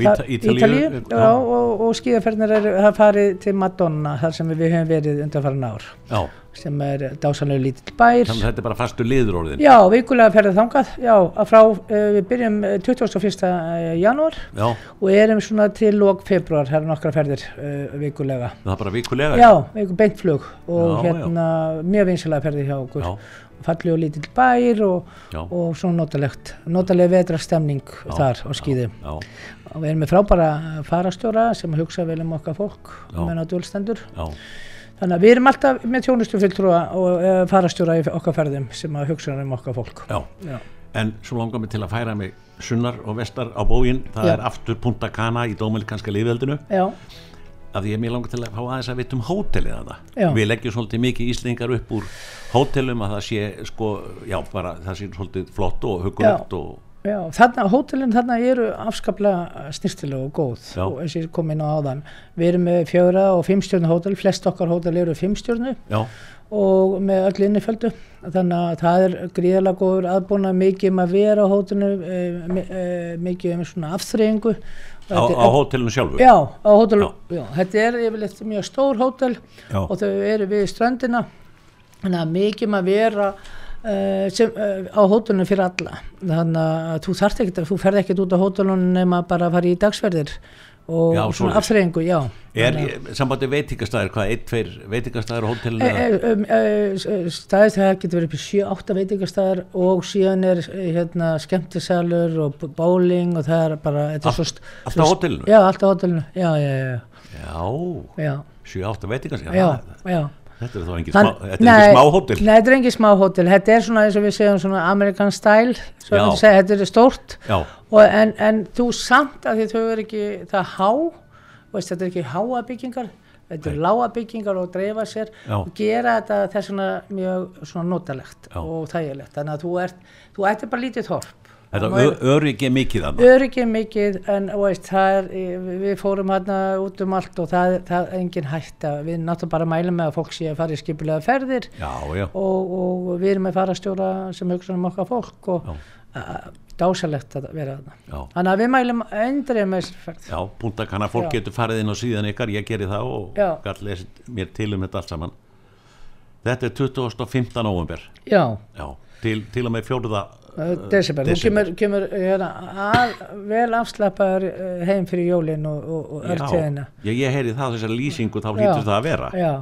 [SPEAKER 1] Á Íta-
[SPEAKER 2] það-
[SPEAKER 1] Ítalíu,
[SPEAKER 2] Ítalíu,
[SPEAKER 1] já.
[SPEAKER 2] já, og, og skíðaferðnir er það er farið til Madonna þar sem við höfum verið undanfarin ár
[SPEAKER 1] já,
[SPEAKER 2] sem er dásanlega lítill bær
[SPEAKER 1] þannig að þetta er bara fastu liður orðin
[SPEAKER 2] já, vikulega ferðið þangað já, að frá, uh, við byrjum eh, 21. eh, janúar
[SPEAKER 1] já,
[SPEAKER 2] og erum svona til lók februar, það eru nokkra ferðir uh, vikulega
[SPEAKER 1] það er bara vikulega
[SPEAKER 2] já, einhver beintflug
[SPEAKER 1] Já,
[SPEAKER 2] og hérna mjög vinsilega ferðið hjá okkur
[SPEAKER 1] já,
[SPEAKER 2] fallið og lítill bær og,
[SPEAKER 1] Já.
[SPEAKER 2] og svona notalegt notaleg vetrastemning þar á skíðum
[SPEAKER 1] já,
[SPEAKER 2] Og Við erum með frábæra farastjóra sem hugsa vel um okkar fólk
[SPEAKER 1] Já.
[SPEAKER 2] og menn á dölstendur.
[SPEAKER 1] já,
[SPEAKER 2] Þannig að við erum alltaf með þjónustufulltrúa og uh, farastjóra í okkar ferðum sem að hugsa um okkar fólk.
[SPEAKER 1] já.
[SPEAKER 2] Já.
[SPEAKER 1] En svo langar mig til að færa mig sunnar og vestar á bógin, það
[SPEAKER 2] Já.
[SPEAKER 1] er aftur Punta Cana í Dómelikanska liðveldinu,
[SPEAKER 2] Já,
[SPEAKER 1] af því ég er mér langar til að fá aðeins að vita um hótelið að
[SPEAKER 2] Já.
[SPEAKER 1] Við leggjum svolítið mikið íslingar upp úr hótelum að það sé sko, já bara það sé svolítið flott og hugulegt og
[SPEAKER 2] já. Þarna, hótelin þarna eru afskaplega snýstilega og góð
[SPEAKER 1] Já.
[SPEAKER 2] og eins og ég kom inn á áðan. Við erum með fjögra og fimmstjörnu hótel, flest okkar hótel eru fimmstjörnu
[SPEAKER 1] já,
[SPEAKER 2] og með öll inniföldu þannig að það er gríðarlega góður aðbúna mikið um að vera á hótinu e, e, mikið um svona afþreyingu
[SPEAKER 1] á,
[SPEAKER 2] Þetta er-
[SPEAKER 1] á hótelinu sjálfu.
[SPEAKER 2] Já, á hótel,
[SPEAKER 1] Já.
[SPEAKER 2] já. þetta er yfirleitt mjög stór hótel
[SPEAKER 1] Já.
[SPEAKER 2] og þau eru við ströndina þannig að mikið maður vera uh, sem, uh, á hótelunum fyrir alla þannig að þú þarft ekkert þú ferð ekkert út á hótelunum nema bara að fara í dagsverðir
[SPEAKER 1] Já,
[SPEAKER 2] og
[SPEAKER 1] svoleiðis.
[SPEAKER 2] svona afþreyingu, já
[SPEAKER 1] Er sambandi veitingastæðir, hvað, einn, tveir veitingastæðir á hótelinu?
[SPEAKER 2] E- e- um, e, staðið það getur verið upp í 7-8 veitingastæðar og síðan er e, hérna, skemmtisalur og b- bowling og það er bara þetta er svo st-
[SPEAKER 1] allt
[SPEAKER 2] svo
[SPEAKER 1] á
[SPEAKER 2] st-
[SPEAKER 1] hótelinu?
[SPEAKER 2] Já, allt á hótelinu, já, já, já,
[SPEAKER 1] já,
[SPEAKER 2] já,
[SPEAKER 1] 7-8 veitingastæðir,
[SPEAKER 2] já,
[SPEAKER 1] það-
[SPEAKER 2] já.
[SPEAKER 1] þetta er þá engin
[SPEAKER 2] Þann-
[SPEAKER 1] smá, þetta er ekki smá hótel.
[SPEAKER 2] Nei, þetta er engin smá hótel, þetta er svona eins og við segjum svona American style, svo
[SPEAKER 1] Já.
[SPEAKER 2] myndi segja, þetta er stórt
[SPEAKER 1] Já,
[SPEAKER 2] og, en, en þú samt að því þau eru ekki það há, þú veist, þetta er ekki háa byggingar, þetta
[SPEAKER 1] Nei.
[SPEAKER 2] eru lága byggingar og dreifa sér
[SPEAKER 1] Já.
[SPEAKER 2] og gera þetta þess vegna mjög svona notalegt
[SPEAKER 1] Já.
[SPEAKER 2] og þægilegt, þannig að þú ert, þú ættir bara lítið þorp.
[SPEAKER 1] þetta
[SPEAKER 2] Og
[SPEAKER 1] ö- öryggi er mikið þannig.
[SPEAKER 2] Öryggið mikið en þú veist, það er, við- við fórum hérna út um allt og það, það er engin hætta. Við náttúrulega bara mælum með að fólk sé að fara í skipulega ferðir
[SPEAKER 1] Já, já,
[SPEAKER 2] og, og við erum með farastjóra sem hugsa um okkar fólk og að- dásalegt að vera þarna.
[SPEAKER 1] já.
[SPEAKER 2] Þannig að við mælum endrið með þessari ferð.
[SPEAKER 1] Já, punta kannar fólk
[SPEAKER 2] Já.
[SPEAKER 1] getur farið inn á síðan ykkar, ég geri það og
[SPEAKER 2] Já.
[SPEAKER 1] gall lesið mér til um þetta allt saman. Þetta er 2015 november
[SPEAKER 2] já,
[SPEAKER 1] Já, til, til og með fjórða
[SPEAKER 2] uh, desember, þú
[SPEAKER 1] Desember.
[SPEAKER 2] kemur, kemur hérna, að, vel afslappaður eh, heim fyrir jólin og, og, og örtíðina
[SPEAKER 1] Já, ég, ég heyri það þessar lýsingu þá hlýtur það að vera
[SPEAKER 2] já,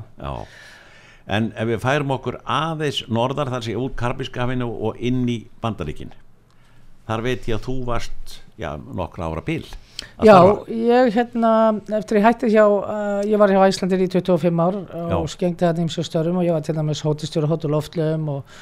[SPEAKER 1] En ef við færum okkur aðeins norðar þar sé út Karbískafinu og inn í Bandaríkin Þar veit ég að þú varst já, nokkra ára bíl
[SPEAKER 2] já ég hérna eftir ég hætti hjá, uh, ég var hjá Æslandir í 25 ár og
[SPEAKER 1] Já.
[SPEAKER 2] skengdi það nýmsu störum og ég var til dæmis hótistjóri hótuloftlöfum og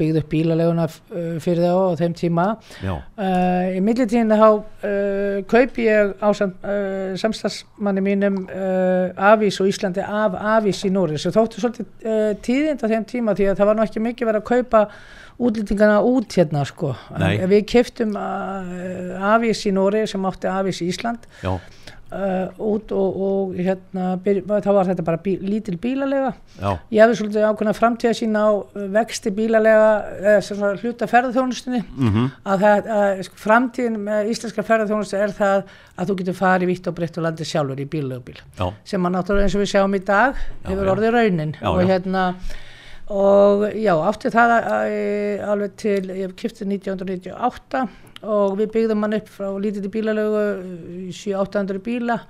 [SPEAKER 2] byggði upp bílaleguna f- eh, fyrir þá á þeim tíma
[SPEAKER 1] Já,
[SPEAKER 2] Uh, í millitíðinu þá uh, kaup ég á sam, uh, samstagsmanni mínum uh, Avís og Íslandi af Avís í Núri sem þóttu svolítið uh, tíðind á þeim tíma því að það var nú ekki mikið verið að kaupa útlýtingana út hérna sko
[SPEAKER 1] Nei.
[SPEAKER 2] En við keftum uh, Avís í Núri sem átti Avís í Ísland
[SPEAKER 1] já,
[SPEAKER 2] uh, út og, og hérna byrj, þá var þetta bara bí, lítil bílalega
[SPEAKER 1] já,
[SPEAKER 2] Ég hefði svolítið ákveðna framtíða sín á uh, vexti bílalega eða sem svona hluta ferðarþjónustunni að, það, að sko, framtíðin með íslenska ferðarþjónustu er það að þú getur farið vitt og breytt og landið sjálfur í bílögubíl
[SPEAKER 1] já,
[SPEAKER 2] sem að náttúrulega eins og við sjáum í dag hefur
[SPEAKER 1] já.
[SPEAKER 2] orðið raunin
[SPEAKER 1] Já,
[SPEAKER 2] og
[SPEAKER 1] já.
[SPEAKER 2] hérna og já, átti það að, að, alveg til, ég kipti 1998 og við byggðum hann upp frá lítið í bílalögu í 700-800 bíla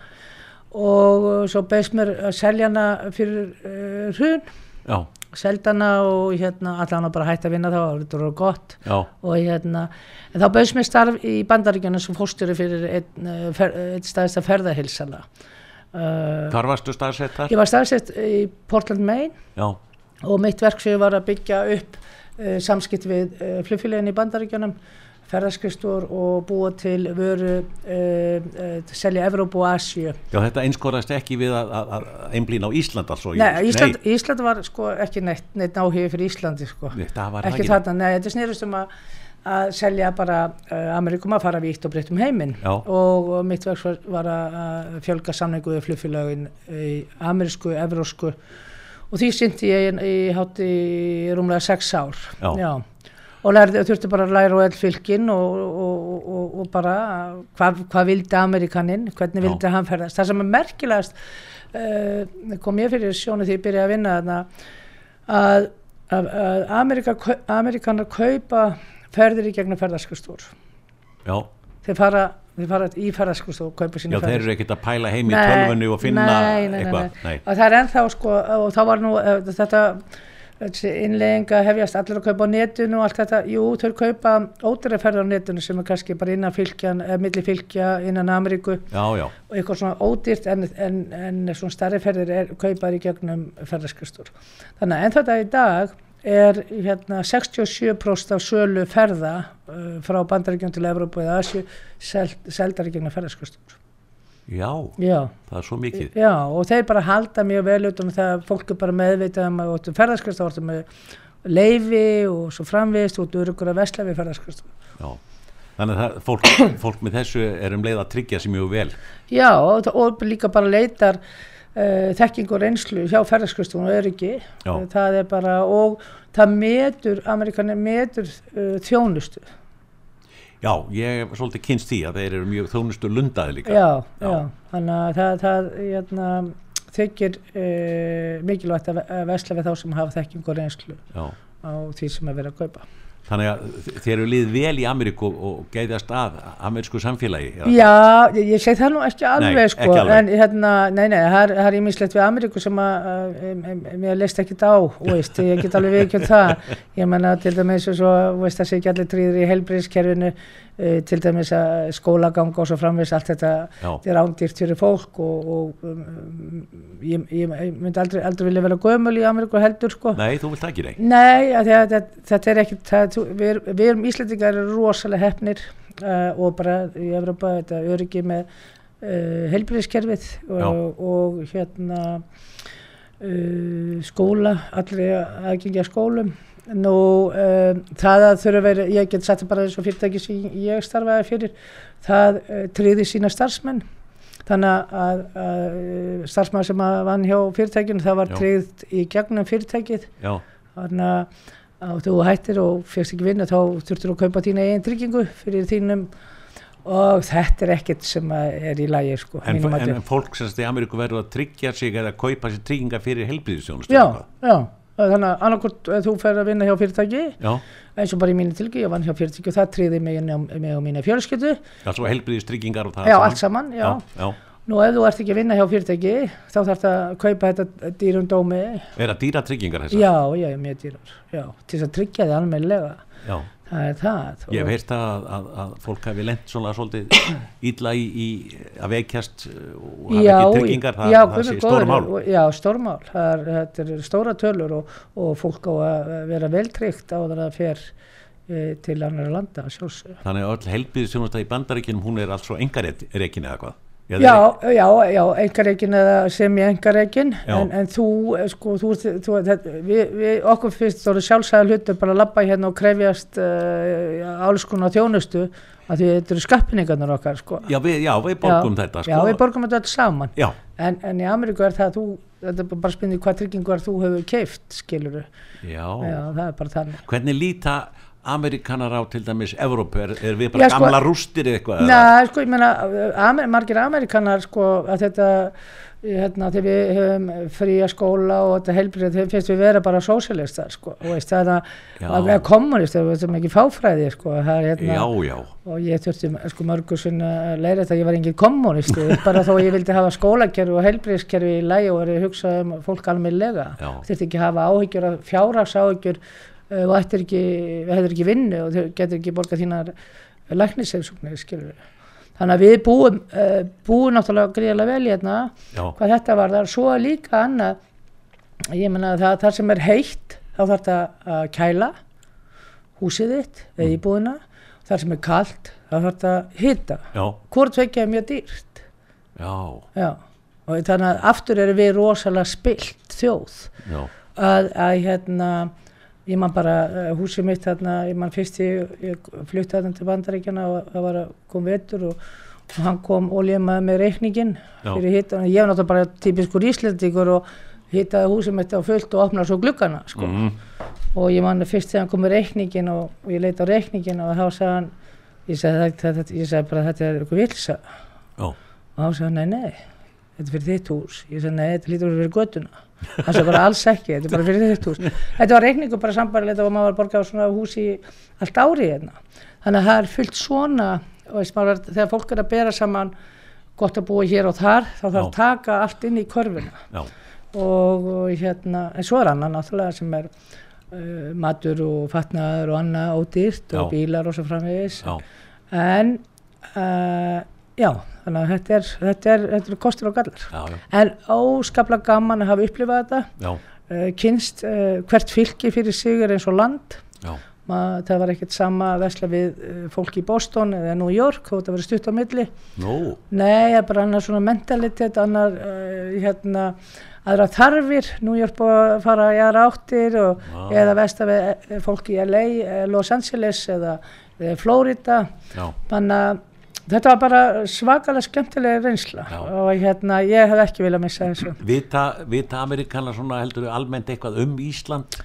[SPEAKER 2] og uh, svo beðst mér að selja hana fyrir uh, hrun
[SPEAKER 1] já,
[SPEAKER 2] seldi hana og hérna allan að bara hætti að vinna þá, það var gott
[SPEAKER 1] já,
[SPEAKER 2] og hérna, en þá bauðst mér starf í bandaríkjunum sem fórstjóri fyrir einn, eh, fer, einn staðista ferðahilsana uh,
[SPEAKER 1] hvar varstu staðsett þar?
[SPEAKER 2] ég var staðsett eh, í Portland, Maine
[SPEAKER 1] Já,
[SPEAKER 2] og mitt verksvið var að byggja upp uh, samskipt við uh, flugfélagin í bandaríkjunum ferðarskristur og búa til vöru uh, uh, selja Evrópu og Asíu
[SPEAKER 1] já, þetta einskorast ekki við að, að, að einblín á Ísland alveg
[SPEAKER 2] Nei, Ísland, Ísland var sko ekki neitt, neitt áhugi fyrir Íslandi sko.
[SPEAKER 1] Nei, það var það
[SPEAKER 2] ekki
[SPEAKER 1] ekki.
[SPEAKER 2] þarna, nei, þetta snýrist um að, að selja bara uh, Amerikum að fara vítt og breytt um heiminn
[SPEAKER 1] Já.
[SPEAKER 2] og, og mitt verks var, var að að fjölga samningu við flugfélagin í amerísku, evrósku og því synti ég í, í hátt í rúmlega sex ár
[SPEAKER 1] Já.
[SPEAKER 2] og lærði, þurfti bara að læra á all fylkin og, og, og, og bara hvað hva vildi Amerikaninn, hvernig
[SPEAKER 1] Já.
[SPEAKER 2] vildi hann ferðast. Það sem er merkilegast uh, kom ég fyrir sjónu því ég byrjaði að vinna þarna að, að, að Amerika, Amerikanar kaupa ferðir í gegnum ferðarskustúr.
[SPEAKER 1] Já,
[SPEAKER 2] Þeir fara, þeir fara í ferðarskustúr og kaupa
[SPEAKER 1] já
[SPEAKER 2] sína
[SPEAKER 1] þeir eru ekkert að pæla heim í tölvunni og finna
[SPEAKER 2] nei, nei,
[SPEAKER 1] eitthvað
[SPEAKER 2] nei, nei. og það er ennþá sko og þá var nú eh, þetta þessi innlegging að hefjast allir að kaupa á netinu og allt þetta, jú þau kaupa ódýraferðar á netinu sem er kannski bara innan fylgjan, eða milli fylgja innan Ameríku
[SPEAKER 1] Já, já,
[SPEAKER 2] og eitthvað svona ódýrt en, en, en svona starri ferðir er kaupar í gegnum ferðarskristur. Þannig að enn þetta í dag er hérna 67% af sölu ferða uh, frá bandaríkjum til Evrópu eða Asju seld, seldar í gegnum ferðarskristur.
[SPEAKER 1] já
[SPEAKER 2] Já.
[SPEAKER 1] það er svo mikið
[SPEAKER 2] Já, og þeir bara halda mjög vel út um það að fólk er bara meðvitað um að þú ferðarskast, þá ertu með leifi og svo framvist og þú eru ykkur að vesla við ferðarskast.
[SPEAKER 1] já. þannig að það, fólk, fólk með þessu er um leið að tryggja sér mjög vel
[SPEAKER 2] Já, og, það- og líka bara leitar uh, þekking og reynslu hjá ferðarskastunum og öryggi. Eh,
[SPEAKER 1] Já.
[SPEAKER 2] Það er bara, og það metur, Amerikanin metur uh, þjónustu.
[SPEAKER 1] já, ég er svolítið kynst því að þeir eru mjög þjónustu lundaði líka
[SPEAKER 2] Já, já,
[SPEAKER 1] Já.
[SPEAKER 2] þannig að það, það hérna, þykir uh, mikilvægt að ve- að vesla við þá sem hafa þekking og reynslu
[SPEAKER 1] Já.
[SPEAKER 2] á því sem er verið að kaupa.
[SPEAKER 1] þannig að þe- þeir eru lið vel í Ameríku og gæðast að amerísku samfélagi eða-
[SPEAKER 2] Já, ég, ég segi það nú ekki alveg
[SPEAKER 1] Nei,
[SPEAKER 2] sko,
[SPEAKER 1] ekki alveg.
[SPEAKER 2] en hérna, nei, nei, það er- það er ímislegt við Ameríku sem að, að, em- em- em- mér leist ekkit á, þú veist, ég get alveg viðkjönd það, ég menna til dæmis og svo, þú veist, það sé ekki allir tríður í helbriðskerfinu, uh, til dæmis að skólaganga og svo framvegis allt þetta,
[SPEAKER 1] Já.
[SPEAKER 2] þetta er ándýrt fyrir fólk og, og um, um, ég, ég, ég myndi aldrei, aldrei vilja vera gömul í Ameríku heldur sko.
[SPEAKER 1] nei, þú vilt ekki nei
[SPEAKER 2] Nei, af því að þetta, þetta er ekki, það, þú- við, erum- við erum Íslendingar eru rosalega hefnir uh, og bara í Evrópa þetta öryggi með uh, helbriðskerfið
[SPEAKER 1] Já.
[SPEAKER 2] og, og hérna uh, skóla, allir aðgengja skólum. Nú, um, það að þurfa að vera, ég get satt bara eins og fyrirtæki sem ég starfaði fyrir, það uh, tryði sína starfsmenn. Þannig að, að uh, starfsmann sem að vann hjá fyrirtækinu, það var
[SPEAKER 1] Já.
[SPEAKER 2] tryggð í gegnum fyrirtækið
[SPEAKER 1] já,
[SPEAKER 2] þannig að- að þú hættir og fyrst ekki vinna þá þurftur að kaupa þína eigin tryggingu fyrir þínum og þetta er ekkert sem að er í lægi sko,
[SPEAKER 1] en,
[SPEAKER 2] mínum
[SPEAKER 1] en,
[SPEAKER 2] mati.
[SPEAKER 1] en fólk semst í Ameríku verður að tryggja sig eða kaupa sér trygginga fyrir helbriðisjónustu
[SPEAKER 2] já, já, þannig að annarkort þú fer að vinna hjá fyrirtæki
[SPEAKER 1] já,
[SPEAKER 2] eins og bara í mínu tilgi, ég vann hjá fyrirtæki og það triði mig, inn á- mig og mínu fjölskyldu
[SPEAKER 1] já, svo helbriðistryggingar og það
[SPEAKER 2] já,
[SPEAKER 1] allt
[SPEAKER 2] allt saman, já.
[SPEAKER 1] já, já.
[SPEAKER 2] nú ef þú ert ekki að vinna hjá fyrirtæki þá þarf það að kaupa þetta dýrum dómi
[SPEAKER 1] Er það dýra tryggingar þessar?
[SPEAKER 2] já, já, ég er mjög dýrar já, til þess að tryggja þið almennilega
[SPEAKER 1] Já.
[SPEAKER 2] það er það
[SPEAKER 1] Ég
[SPEAKER 2] Og-
[SPEAKER 1] hef heyrt að, að, að fólk hafi lent svona svolítið illa í, í að veikjast uh, og hafi ekki tryggingar, það,
[SPEAKER 2] já,
[SPEAKER 1] það
[SPEAKER 2] guð
[SPEAKER 1] sé
[SPEAKER 2] minn góður,
[SPEAKER 1] stóra mál.
[SPEAKER 2] og- Já, stórmál, það er, þetta eru stóra tölur og, og fólk á að vera veltryggt á það að fer e, til annar landa að sjálfsögja.
[SPEAKER 1] Þannig að öll helbriðisjónasta í bandaríkinum, hún er alls svo engareikin eða hvað? Eða
[SPEAKER 2] Já,
[SPEAKER 1] er-
[SPEAKER 2] já, já, engareikin eða sem ég engareikin,
[SPEAKER 1] Já.
[SPEAKER 2] en, en þú, eh, sko, þú, ert- þú þetta, við, við, okkur finnst þú eru sjálfsæða hlutu bara að labba hérna og krefjast uh, alls konar þjónustu að því þetta eru skappningarnir okkar, sko.
[SPEAKER 1] Já, við, já, við borgum þetta sko.
[SPEAKER 2] Já, við borgum þetta öll saman.
[SPEAKER 1] Já,
[SPEAKER 2] En, en í Ameríku er það að þú, þetta er bara spynni hvað tryggingar þú hefur keift, skilur
[SPEAKER 1] já.
[SPEAKER 2] Já, það er bara þannig.
[SPEAKER 1] Hvernig líta Amerikanar á til dæmis Evrópu? Er, er við bara
[SPEAKER 2] Já, sko-
[SPEAKER 1] gamla rústir eða eitthvað? eða?
[SPEAKER 2] Nei, sko, ég meina, amer, margir Amerikanar, sko, að þetta, hérna, þegar við höfum fría skóla og þetta helbrið, þeim finnst við vera bara sósialistar, sko, og veist, það
[SPEAKER 1] Já.
[SPEAKER 2] er að vera kommunistar, við veistum ekki fáfræði, sko, það er hérna,
[SPEAKER 1] Já, já,
[SPEAKER 2] og ég þurfti, sko, mörgur sinna að læra þetta, að ég var engin kommunisti, bara þó ég vildi hafa skólakerfi og helbriðskerfi í lægi og verið hugsað um fólk almennilega,
[SPEAKER 1] Já.
[SPEAKER 2] þurfti ekki að hafa áhyggjur, fjárhags áhyggjur, og ættir ekki, hefur ekki vinnu og þau getur ekki borgað þínar læknisefsóknir, skilur við. Þannig að við búum, uh, búum náttúrulega gríðarlega vel hérna,
[SPEAKER 1] já,
[SPEAKER 2] hvað þetta var þar, svo er líka annað, ég menna að það, þar sem er heitt, þá þarf þetta að kæla húsið þitt, eða íbúðina, þar sem er kalt, þá þarf þetta að hita.
[SPEAKER 1] já,
[SPEAKER 2] Hvort vekja er mjög dýrt,
[SPEAKER 1] já,
[SPEAKER 2] já, og þannig að aftur erum við rosalega spilt þjóð
[SPEAKER 1] já,
[SPEAKER 2] að, að hérna ég man bara uh, húsið mitt þarna ég man fyrst ég, ég flutti þarna til bandaríkjana og það var að kom vetur og, og hann kom oljumað með reikningin
[SPEAKER 1] Já.
[SPEAKER 2] fyrir hitta, ég var náttúrulega bara típiskur íslendingur og hittaði húsið mitt á fullt og opnaði svo gluggana sko.
[SPEAKER 1] mm,
[SPEAKER 2] og ég man að fyrst þegar hann kom með reikningin og, og ég leita á reikningin og þá sagði hann ég sagði, þetta, þetta, ég sagði bara þetta er eitthvað vilsa
[SPEAKER 1] já,
[SPEAKER 2] og hann sagði, nei, nei, þetta er fyrir þitt hús. Ég sagði, nei, þetta lítur að vera fyrir göttuna. Hann sagði bara alls ekki, þetta er bara fyrir þitt hús. Þetta var reikningu bara sambarilegt og maður var að borga á svona hús í allt árið hérna. Þannig að það er fullt svona, og veist, maður, er- þegar fólk er að bera saman gott að búa hér og þar, þá þarf að
[SPEAKER 1] Já.
[SPEAKER 2] taka allt inn í körfuna
[SPEAKER 1] já,
[SPEAKER 2] og, og hérna, en svo er annað náttúrulega sem er uh, matur og fatnaður og annað ódýrt og
[SPEAKER 1] Já.
[SPEAKER 2] bílar og svo framvegis
[SPEAKER 1] já,
[SPEAKER 2] en uh, já, þannig að þetta er, þetta er, þetta er kostur og gallar
[SPEAKER 1] já, já,
[SPEAKER 2] en óskaplega gaman að hafa upplifað þetta
[SPEAKER 1] já,
[SPEAKER 2] uh, kynst uh, hvert fylki fyrir sig er eins og land
[SPEAKER 1] já,
[SPEAKER 2] Ma, það var ekkert sama að vesla við uh, fólk í Boston eða New York þó þetta verið stutt á milli
[SPEAKER 1] nú,
[SPEAKER 2] nei, það er bara annar svona mentalitet annar, uh, hérna aðra þarfir, New York búið að fara í aðra áttir og
[SPEAKER 1] Vá.
[SPEAKER 2] eða vesla við eh, fólk í LA, eh, Los Angeles eða, eða Florida
[SPEAKER 1] já,
[SPEAKER 2] þannig að þetta var bara svakalega skemmtilega reynsla
[SPEAKER 1] Já.
[SPEAKER 2] og hérna, ég hef ekki viljað missa þessu
[SPEAKER 1] Vita, vita Amerikanar svona heldur þau almennt eitthvað um Ísland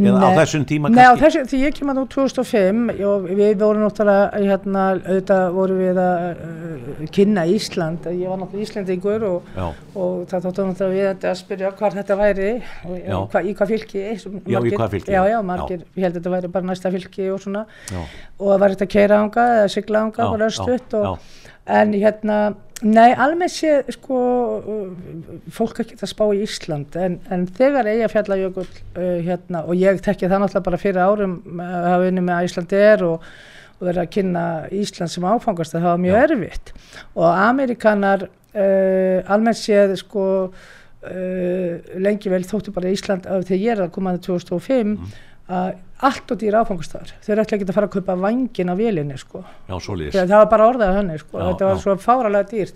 [SPEAKER 1] eða á
[SPEAKER 2] Nei.
[SPEAKER 1] þessum tíma
[SPEAKER 2] Nei, á
[SPEAKER 1] kannski?
[SPEAKER 2] þessu, því ég kem að nú 2005 og við vorum náttúrulega hérna, auðvitað vorum við að uh, kynna Ísland, ég var náttúrulega Íslendingur og,
[SPEAKER 1] Já,
[SPEAKER 2] og það þóttu náttúrulega við þetta að spyrja hvar þetta væri og,
[SPEAKER 1] Já.
[SPEAKER 2] og hva, í hvað fylki svo
[SPEAKER 1] Já, í
[SPEAKER 2] margir-
[SPEAKER 1] hvað fylki,
[SPEAKER 2] Já,
[SPEAKER 1] já.
[SPEAKER 2] já, margir, ég held að þetta væri bara næsta fylki og svona
[SPEAKER 1] já,
[SPEAKER 2] og það var þetta að keira ánga eða sigla ánga,
[SPEAKER 1] Já,
[SPEAKER 2] bara
[SPEAKER 1] já,
[SPEAKER 2] stutt
[SPEAKER 1] já.
[SPEAKER 2] og, en hérna nei, almennt sé sko uh, fólk ekki að spá í Ísland en, en þegar Eyjafjallajökull uh, hérna, og ég tekki það náttúrulega bara fyrir árum uh, að hafa unni með Ísland er og, og verið að kynna Ísland sem áfangast það var mjög
[SPEAKER 1] Já.
[SPEAKER 2] erfitt og Amerikanar uh, almennt séð sko uh, lengi vel þóttu bara Ísland af þegar ég er að koma að 2005
[SPEAKER 1] Mhm.
[SPEAKER 2] að allt og dýra áfangastæðar þau eru ekki að fara að kaupa vangin á vélinni sko.
[SPEAKER 1] já, svoleiðis.
[SPEAKER 2] Þegar það var bara orðað henni sko.
[SPEAKER 1] Já,
[SPEAKER 2] þetta var
[SPEAKER 1] já.
[SPEAKER 2] svo fáralega dýrt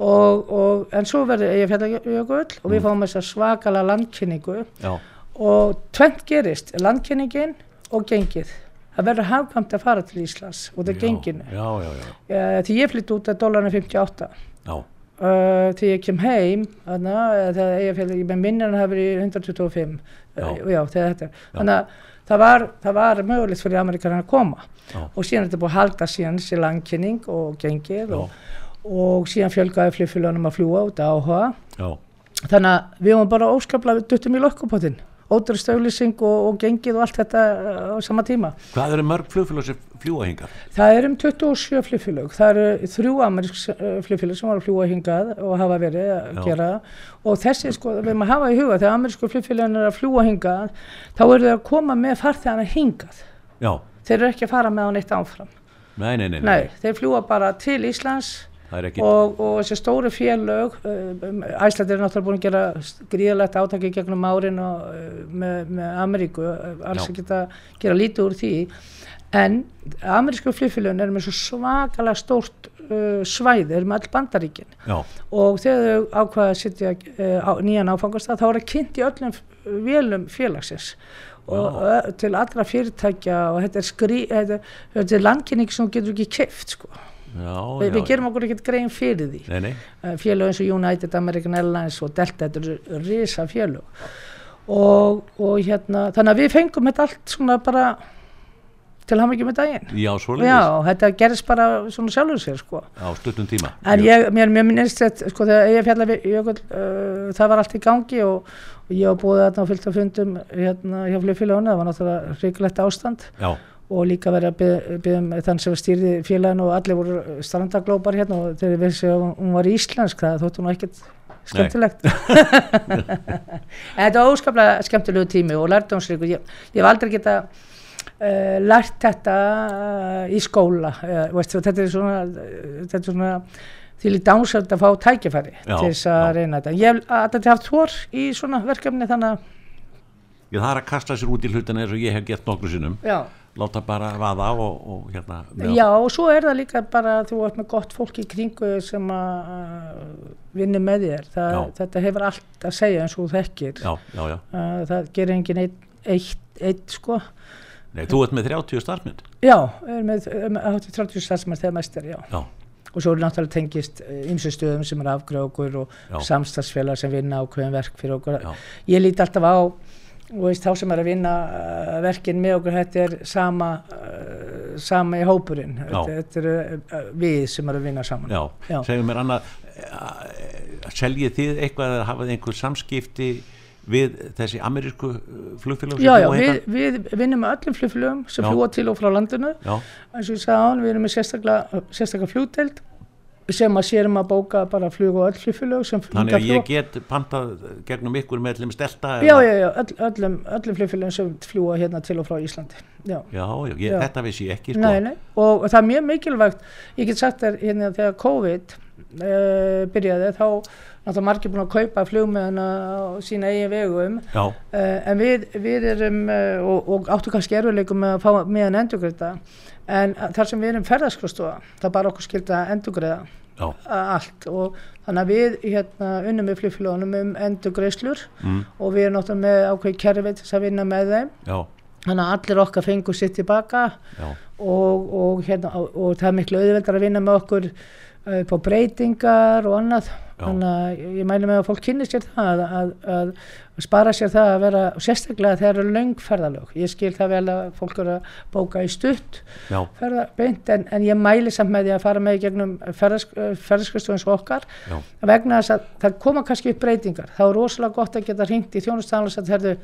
[SPEAKER 2] og, og, en svo verður ég fjallajökull
[SPEAKER 1] Mm.
[SPEAKER 2] og við fáum þess að svakala landkynningu
[SPEAKER 1] Já,
[SPEAKER 2] og tvent gerist landkynningin og gengið það verður hafkvæmt að fara til Íslands út af
[SPEAKER 1] já,
[SPEAKER 2] genginu
[SPEAKER 1] Já, já, já,
[SPEAKER 2] Eh, því ég flytti út af dólarinu 58
[SPEAKER 1] já,
[SPEAKER 2] Uh, þegar ég kem heim þannig að það eigafjall ég með minna hann hafi verið í 125
[SPEAKER 1] Já.
[SPEAKER 2] uh, já, þegar þetta er þannig að það var, það var mögulegt fyrir Amerikanar að koma
[SPEAKER 1] Já.
[SPEAKER 2] og síðan er þetta búið að halda síðan sér langkynning og gengið
[SPEAKER 1] Já.
[SPEAKER 2] og, og síðan fjölgaði flugfélagum að fljúa út af áhuga
[SPEAKER 1] já,
[SPEAKER 2] þannig að við vorum bara óskaplega við duttum í lokkupotinn ótrúst auðlýsing og, og gengið og allt þetta uh, á sama tíma.
[SPEAKER 1] Hvað eru mörg flugfélag sem fljúa hingað?
[SPEAKER 2] Það er um 27 flugfélög, það eru þrjú ameríks flugfélög sem var að fljúa hingað og hafa verið að
[SPEAKER 1] Já.
[SPEAKER 2] gera það og þessi sko, við maður hafa í huga þegar amerísku flugfélögin er að fljúa hingað þá eru þau að koma með farþegana hingað,
[SPEAKER 1] Já,
[SPEAKER 2] þeir eru ekki að fara með hann eitt áfram,
[SPEAKER 1] nei, nei, nei,
[SPEAKER 2] nei, þeir fljúa bara til Íslands
[SPEAKER 1] það er ekki,
[SPEAKER 2] og, og þessi stóru félög um, Æsland er náttúrulega búin að gera st- gríðalegt átaki gegnum árin og, uh, með, með Ameríku uh, alls
[SPEAKER 1] Já.
[SPEAKER 2] að geta gera lítið úr því en amerísku flugfélögin er með svo svakalega stórt uh, svæðir með all bandaríkin
[SPEAKER 1] já,
[SPEAKER 2] og þegar þau ákvaða að setja uh, á, nýjan áfangastað þá er það kynnt í öllum f- vélum félagsins og
[SPEAKER 1] Vá.
[SPEAKER 2] uh, til allra fyrirtækja og þetta er, skrí, þetta, þetta er landkynning sem þú getur ekki keift sko.
[SPEAKER 1] já,
[SPEAKER 2] Vi,
[SPEAKER 1] já.
[SPEAKER 2] við gerum okkur ekkert grein fyrir því
[SPEAKER 1] Nei, nei,
[SPEAKER 2] Eh, félög eins og United American Airlines og Delta, þetta eru risa félög og, og hérna þannig að við fengum þetta allt svona bara til ham ekki með daginn
[SPEAKER 1] já, svoleiðis,
[SPEAKER 2] já, þetta gerist bara svona sjálfur sér sko
[SPEAKER 1] á stuttum tíma.
[SPEAKER 2] en
[SPEAKER 1] Jú.
[SPEAKER 2] ég, mér, mér minnist þetta sko þegar ég fjalla við jökull uh, það var allt í gangi og, og ég var búið þarna á fullt af fundum hérna hjá flugfélaguna, það var náttúrulega ríkulegt ástand
[SPEAKER 1] Já,
[SPEAKER 2] og líka verið að byggja- biðja um þann sem stýrði félagin og allir voru strandaglópar hérna og þegar við séum að hún var íslensk það þóttu hún ekkert skemmtilegt en þetta var óskaplega skemmtilegu tími og lærdomsríkur ég, ég hef aldrei geta uh, lært þetta uh, í skóla uh, veist, og þetta er svona uh, þetta er svona til í dánsöld að fá tækifæri
[SPEAKER 1] Já,
[SPEAKER 2] til þess að
[SPEAKER 1] já.
[SPEAKER 2] reyna þetta ég hef alltaf haft þór í svona verkefni þannig að
[SPEAKER 1] ég þarf að kasta sér út í hlutina eins og ég hef gett nokkru sinnum,
[SPEAKER 2] já.
[SPEAKER 1] láta bara vaða og, og hérna,
[SPEAKER 2] Já, og svo er það líka bara að þú ert með gott fólk í kringu þig sem að uh, vinni með þér. Það,
[SPEAKER 1] Já.
[SPEAKER 2] þetta hefur allt að segja eins og þú þekkir.
[SPEAKER 1] já, já, já,
[SPEAKER 2] Uh, það gerir engin eitt, eitt, eitt sko.
[SPEAKER 1] nei, þú ert með 30 starfmynd,
[SPEAKER 2] Já, er með, er með 30 starfsmenn þegar mæstir, já.
[SPEAKER 1] já,
[SPEAKER 2] Og svo er náttúrulega tengist ymsu stöðum sem er afgræð okkur og
[SPEAKER 1] Já.
[SPEAKER 2] samstagsfélag sem vinna ákveðin verk fyrir okkur.
[SPEAKER 1] Já.
[SPEAKER 2] Ég líti alltaf á, og veist, þá sem er að vinna uh, verkin með okkur, þetta er sama, uh, sama í hópurinn.
[SPEAKER 1] Já.
[SPEAKER 2] Þetta, þetta eru uh, við sem er að vinna saman.
[SPEAKER 1] já,
[SPEAKER 2] Já.
[SPEAKER 1] segðu mér annað, eh, seljið þið eitthvað að hafað einhver samskipti við þessi amerísku eh, flugfélag?
[SPEAKER 2] Já, já, við, við vinnum með öllum flugflugum sem
[SPEAKER 1] Já.
[SPEAKER 2] fljúa til og frá landinu
[SPEAKER 1] Já,
[SPEAKER 2] eins og ég sagði án, við erum með sérstaklega, sérstaklega flugdeild sem að sérum að bóka bara flug og öll flugflug sem
[SPEAKER 1] þannig
[SPEAKER 2] hingað
[SPEAKER 1] að ég
[SPEAKER 2] fljúga.
[SPEAKER 1] get pantað gegnum ykkur með allir stelta
[SPEAKER 2] Já, já, já, öll, öllum, öllum flugflugum sem fljúa hérna til og frá Íslandi Já,
[SPEAKER 1] Já, já, ég,
[SPEAKER 2] Já.
[SPEAKER 1] þetta vissi ég ekki sko.
[SPEAKER 2] nei, nei, og það er mjög mikilvægt ég get sagt þér hérna þegar COVID uh, byrjaði þá náttúrulega margir búin að kaupa flugmiðana á sína eigin vegum
[SPEAKER 1] Já,
[SPEAKER 2] Uh, en við, við erum uh, og, og áttu kannski erfiðleikum með að fá meðan endurgreita en uh, þar sem við erum ferðarskristofa það er bara okkur skilta að endurgreita
[SPEAKER 1] já,
[SPEAKER 2] uh, allt og þannig að við hérna unnum með flugfélagunum um endurgreislur
[SPEAKER 1] mm,
[SPEAKER 2] og við erum náttúrulega með ákveð kerfi til þess að vinna með þeim
[SPEAKER 1] já,
[SPEAKER 2] þannig að allir okkar fengu sitt tilbaka
[SPEAKER 1] já,
[SPEAKER 2] og, og, hérna, og, og það er miklu auðveldar að vinna með okkur uh, upp á breytingar og annað
[SPEAKER 1] Já.
[SPEAKER 2] þannig að ég- ég mæli með að fólk kynni sér það að, að, að spara sér það að vera og sérstaklega þegar eru löngferðalög ég skil það vel að fólk eru að bóka í stutt
[SPEAKER 1] já,
[SPEAKER 2] ferða beint en, en ég mæli samt með því að fara með í gegnum eh, ferðarskristofunns okkar
[SPEAKER 1] já,
[SPEAKER 2] vegna þess að það koma kannski upp breytingar þá er rosalega gott að geta hringt í þjónustanlega að herðu,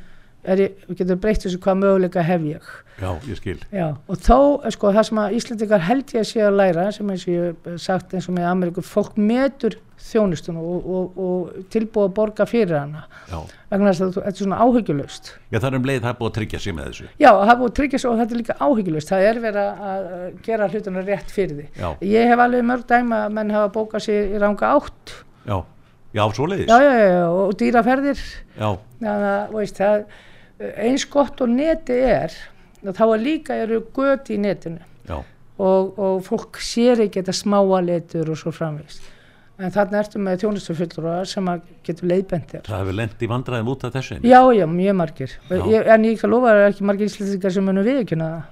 [SPEAKER 2] er ég, getur breytt þessu hvað möguleika hef ég
[SPEAKER 1] já, ég skil.
[SPEAKER 2] Já, og þó, eh, sko, það sem að Íslendingar held ég að sé að læra, sem eins og ég hef eh, sagt eins og með Ameríku, fólk metur þjónustun og, og, og tilbúið að borga fyrir hana,
[SPEAKER 1] Já.
[SPEAKER 2] vegna þess að þú- þetta er svona áhyggjulaust.
[SPEAKER 1] já, það er um leið það er búið að tryggja sig með þessu.
[SPEAKER 2] Já, það er búið að tryggja svo og þetta er líka áhyggjulaust, það er verið að- að eh, gera hlutuna rétt fyrir því.
[SPEAKER 1] Já,
[SPEAKER 2] Ég hef alveg mörg dæma að menn hafa bókað sér í ranga átt,
[SPEAKER 1] já, já, svoleiðis.
[SPEAKER 2] já, já, já, já, og dýraferðir,
[SPEAKER 1] já,
[SPEAKER 2] þannig að, þú veist, það, eh, eins gott og neti er, þá er líka eru göti í netinu.
[SPEAKER 1] já,
[SPEAKER 2] og, og fólk sér ekki þetta smáa letur og svo framvegst en þarna ertu með þjónustufullur sem að getur leiðbendir
[SPEAKER 1] það hefur lent í vandræðum út af þessu.
[SPEAKER 2] já, já, mjög margir
[SPEAKER 1] Já.
[SPEAKER 2] Ég, en ég ekki að lofa að það er ekki margir íslendingar sem munum viðkjöna það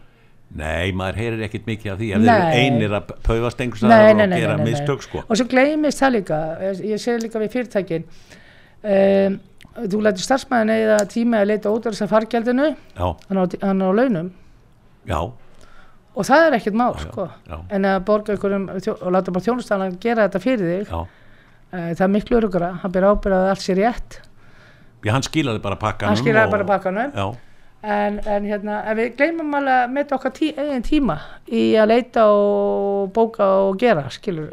[SPEAKER 1] Nei, maður heyrir ekkit mikið af því ef
[SPEAKER 2] Nei.
[SPEAKER 1] þeir eru einir að paufast einhvers
[SPEAKER 2] Nei,
[SPEAKER 1] staðar
[SPEAKER 2] nei,
[SPEAKER 1] og
[SPEAKER 2] nei,
[SPEAKER 1] gera
[SPEAKER 2] nei, nei, nei.
[SPEAKER 1] mistök sko.
[SPEAKER 2] og svo gleymist það líka ég- ég segir líka við fyrirtækin um, þú lætur starfsmæðin eða tíma að leita út af þess að fargjaldinu
[SPEAKER 1] Já,
[SPEAKER 2] hann er á, hann er á launum
[SPEAKER 1] já,
[SPEAKER 2] og það er ekkert mál sko.
[SPEAKER 1] já,
[SPEAKER 2] en að borga einhverjum þjó- og láta bara þjónustanlega gera þetta fyrir þig
[SPEAKER 1] já,
[SPEAKER 2] Eh, það er miklu örugra, hann byrja ábyrðað að allt sé rétt
[SPEAKER 1] Já, hann skilaði bara pakkanum
[SPEAKER 2] hann skilaði
[SPEAKER 1] og-
[SPEAKER 2] bara bakkanum
[SPEAKER 1] Já,
[SPEAKER 2] en, en, hérna, en við gleymum alveg að meta okkar tí, eigin tíma í að leita og bóka og gera skilur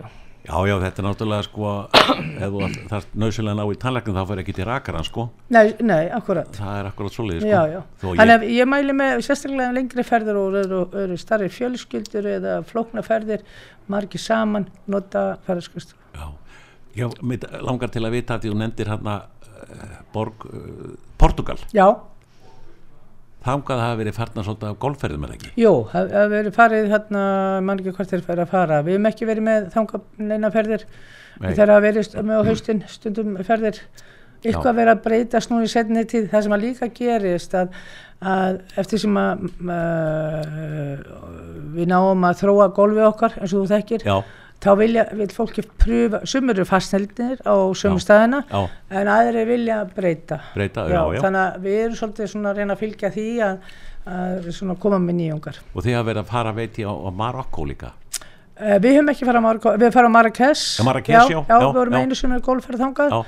[SPEAKER 1] já, já, þetta er náttúrulega sko ef þú ætl- þarft nöðsynlega ná í tannleiknum þá fyrir ekki til rakaran sko
[SPEAKER 2] nei, nei, akkurat
[SPEAKER 1] það er akkurat svoleiði sko
[SPEAKER 2] já, já.
[SPEAKER 1] Þó
[SPEAKER 2] þannig
[SPEAKER 1] ég,
[SPEAKER 2] að ég mæli með sérstaklega um lengri ferðir og eru, eru starri fjölskyldur eða flókna ferðir margir saman, nota ferðarskust
[SPEAKER 1] já, já, mig langar til að vita að þú nefndir hann borg, uh, Portugal
[SPEAKER 2] já,
[SPEAKER 1] þangað hafa verið farnar svolítið af golfferðum er það ekki
[SPEAKER 2] jú, það það hefur verið farið þarna, mann ekki hvort þeir fara að fara við hefum ekki verið með þanga neina ferðir
[SPEAKER 1] Nei.
[SPEAKER 2] þegar hafa verið st- með á haustin stundum ferðir
[SPEAKER 1] Já.
[SPEAKER 2] eitthvað verið að breytast nú í setni tíð það sem að líka gerist að, að eftir sem að uh, við náum að þróa golfi okkar eins og þú þekkir
[SPEAKER 1] Já,
[SPEAKER 2] þá vilja, vil fólki pröfa, sumur eru fastneldir á
[SPEAKER 1] Já.
[SPEAKER 2] sömu staðina
[SPEAKER 1] já,
[SPEAKER 2] en aðri vilja breyta.
[SPEAKER 1] breyta, já, já,
[SPEAKER 2] Þannig að við erum svolítið svona að reyna að fylgja því að, að svona koma með nýjungar.
[SPEAKER 1] og þið hafa verið að fara veit ég á, á Marokko líka
[SPEAKER 2] Uh, við höfum ekki farað Marko, við farað Marrakesh.
[SPEAKER 1] Já, Marrakesh, já,
[SPEAKER 2] Já,
[SPEAKER 1] já,
[SPEAKER 2] við vorum
[SPEAKER 1] já.
[SPEAKER 2] einu sem er golfferð þangað
[SPEAKER 1] Já,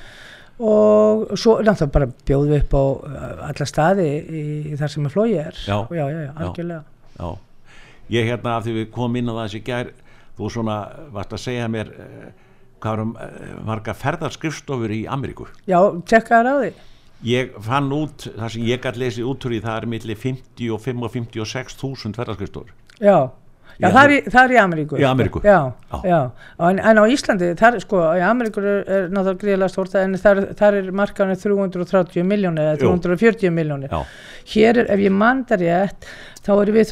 [SPEAKER 2] og svo náttúrulega bara bjóðum við upp á uh, alla staði í, í þar sem er flóið er.
[SPEAKER 1] Já.
[SPEAKER 2] já, já, já, algjörlega.
[SPEAKER 1] já Ég hérna af því við komum inn á það þessi gær þú svona varst að segja mér uh, hvað erum uh, marga ferðarskrifstofur í Ameríku
[SPEAKER 2] Já, tjekka þær á því.
[SPEAKER 1] Ég fann út, það sem ég gætt lesið út úr í það er milli 50 og 55 og 56 þúsund ferðarskrifstofur
[SPEAKER 2] Já,
[SPEAKER 1] Já,
[SPEAKER 2] já það, er í, það er í Ameríku.
[SPEAKER 1] Í Ameríku.
[SPEAKER 2] Já,
[SPEAKER 1] Já.
[SPEAKER 2] já. En, en á Íslandi, þar, sko, í Ameríku er, er náttúrulega gríðlega stórt en þar, þar er markaðan 330 miljónir eða
[SPEAKER 1] Jú.
[SPEAKER 2] 340 miljónir.
[SPEAKER 1] Já,
[SPEAKER 2] Hér er, ef ég mandar rétt, þá erum við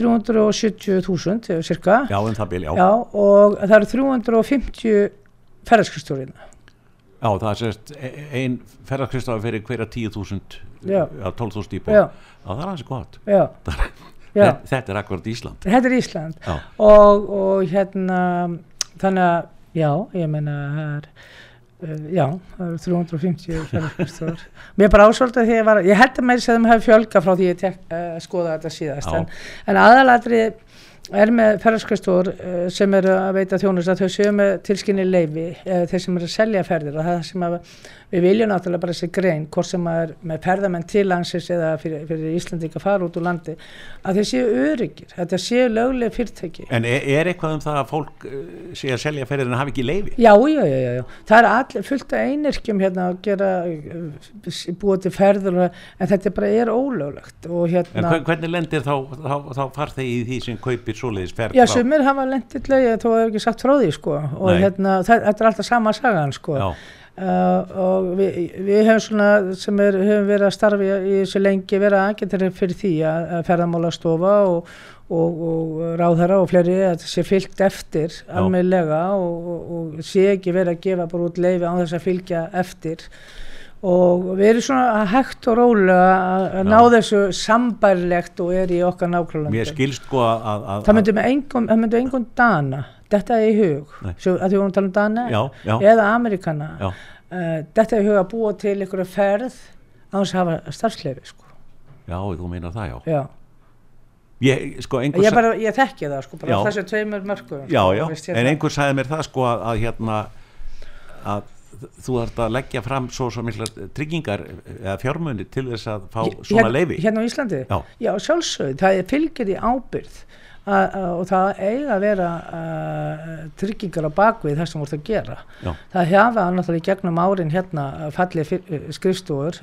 [SPEAKER 2] 370.000 cirka.
[SPEAKER 1] já, um það bil, já
[SPEAKER 2] eh, Já, og hérna. það eru 350 ferðarskristurina.
[SPEAKER 1] Já, það er sérst e- ein ferðarskristofa fyrir hverja 10.000
[SPEAKER 2] Já.
[SPEAKER 1] að 12.000 íbúð
[SPEAKER 2] Já.
[SPEAKER 1] það er aðeins gott
[SPEAKER 2] Já, já.
[SPEAKER 1] Þetta- Þetta er akkurat Ísland
[SPEAKER 2] Þetta er Ísland.
[SPEAKER 1] Já,
[SPEAKER 2] og, og hérna þannig að, já, ég meina það er uh, já, það eru 350 ferðarkristóður mér bara ásvöldi að því að ég var ég held að meira sem þeim hafi fjölga frá því ég tek, uh, skoða þetta síðast
[SPEAKER 1] Já.
[SPEAKER 2] en, en aðalatri er með ferðarskristóður uh, sem eru að veita þjónust að þau séu með tilskinni leifi uh, þeir sem eru að selja ferðir og það sem að við viljum náttúrulega bara þessi grein hvort sem maður er með ferðamenn til landsins eða fyrir, fyrir Íslanding að fara út úr landi að þeir séu öryggir, þetta séu lögleg fyrirtæki
[SPEAKER 1] En er, er eitthvað um það að fólk uh, sé að selja ferðir en hafi ekki leifi?
[SPEAKER 2] Já, já, já, já, já. Það er all, fullt af einirkjum hérna að gera, uh, s- búa til ferður, og- en þetta bara er ólöglegt og
[SPEAKER 1] En
[SPEAKER 2] hérna,
[SPEAKER 1] hver, hvernig lendir þá, þá, þá farþegi í því sem kaupir svoleiðis ferð?
[SPEAKER 2] já,
[SPEAKER 1] frá-
[SPEAKER 2] sumir hafa lendillega, þó hefur ekki sagt frá því, sko, og
[SPEAKER 1] Nei.
[SPEAKER 2] hérna, það, þetta er alltaf sama sagan, sko.
[SPEAKER 1] Já,
[SPEAKER 2] Uh, og við, við hefum svona sem er, hefum verið að starfi í þessu lengi verið aðgættir fyrir því að, að ferðamála stofa og, og, og ráðherra og fleiri að þetta sé fylgt eftir almennlega og, og, og sé ekki verið að gefa bara út leifi án þess að fylgja eftir og við erum svona að hægt og rólega að, að
[SPEAKER 1] Já.
[SPEAKER 2] ná þessu sambærlegt og er í okkar nákvæmlega
[SPEAKER 1] mér skilst sko að, að, að
[SPEAKER 2] það myndi með engum, það myndi engum dana þetta er í hug,
[SPEAKER 1] Nei.
[SPEAKER 2] Svo, að því við vorum að tala um dana
[SPEAKER 1] Já, já,
[SPEAKER 2] eða Ameríkana
[SPEAKER 1] já,
[SPEAKER 2] uh, þetta er huga að búa til einhverja ferð á þess að hafa starfsleifi sko.
[SPEAKER 1] já, þú meinar það, já.
[SPEAKER 2] Já.
[SPEAKER 1] Ég, sko, einhver,
[SPEAKER 2] ég,
[SPEAKER 1] sa-
[SPEAKER 2] bara, ég þekki það sko,
[SPEAKER 1] Já.
[SPEAKER 2] bara á þessu tveimur mörgum
[SPEAKER 1] já, já,
[SPEAKER 2] veist,
[SPEAKER 1] en
[SPEAKER 2] hérna.
[SPEAKER 1] einhver sagði mér það sko að, að hérna, að þú þarft að leggja fram svo svo mikla tryggingar eða fjármunni til þess að fá
[SPEAKER 2] Hér-
[SPEAKER 1] svona
[SPEAKER 2] hér-
[SPEAKER 1] leifi.
[SPEAKER 2] hérna á Íslandi,
[SPEAKER 1] Já.
[SPEAKER 2] sjálfsögð það er fylgir í ábyrð a, a, og það eiga að vera a, tryggingar á bakvið það sem voru að gera
[SPEAKER 1] Já.
[SPEAKER 2] það hafa náttúrulega í gegnum árin hérna fallið skrifstúr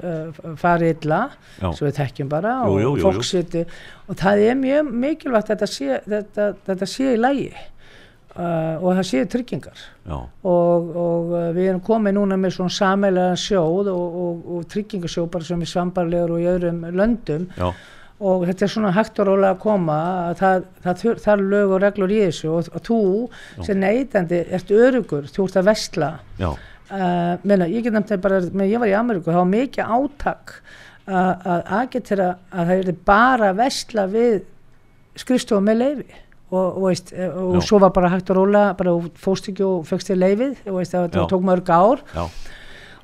[SPEAKER 2] farið illa,
[SPEAKER 1] Já.
[SPEAKER 2] sem við þekkjum bara
[SPEAKER 1] Jú, jú,
[SPEAKER 2] og
[SPEAKER 1] jú, jú.
[SPEAKER 2] fólksviti og það er mjög mikilvægt að þetta sé, þetta, þetta sé í lægi uh, og það séu tryggingar
[SPEAKER 1] Já,
[SPEAKER 2] og, og uh, við erum komið núna með svona sameilega sjóð og, og, og tryggingasjóð bara sem er svambarlegur og í öðrum löndum
[SPEAKER 1] já,
[SPEAKER 2] og þetta er svona hægt og rólega að koma að það, það, þur, það er lög og reglur í þessu og, og þú sem neytandi ert örugur, þú ert að vestla
[SPEAKER 1] já,
[SPEAKER 2] uh, meina, ég get nefnt það bara meina, ég var í Ameríku, það var mikið átak að að agitera að það er bara að vestla við skrifstofa með leifi og, og, veist, eh, og
[SPEAKER 1] Já.
[SPEAKER 2] svo var bara hægt að róla bara þú fórst ekki og fegst þér leifið og veist, það
[SPEAKER 1] Já.
[SPEAKER 2] tók mörg ár
[SPEAKER 1] já,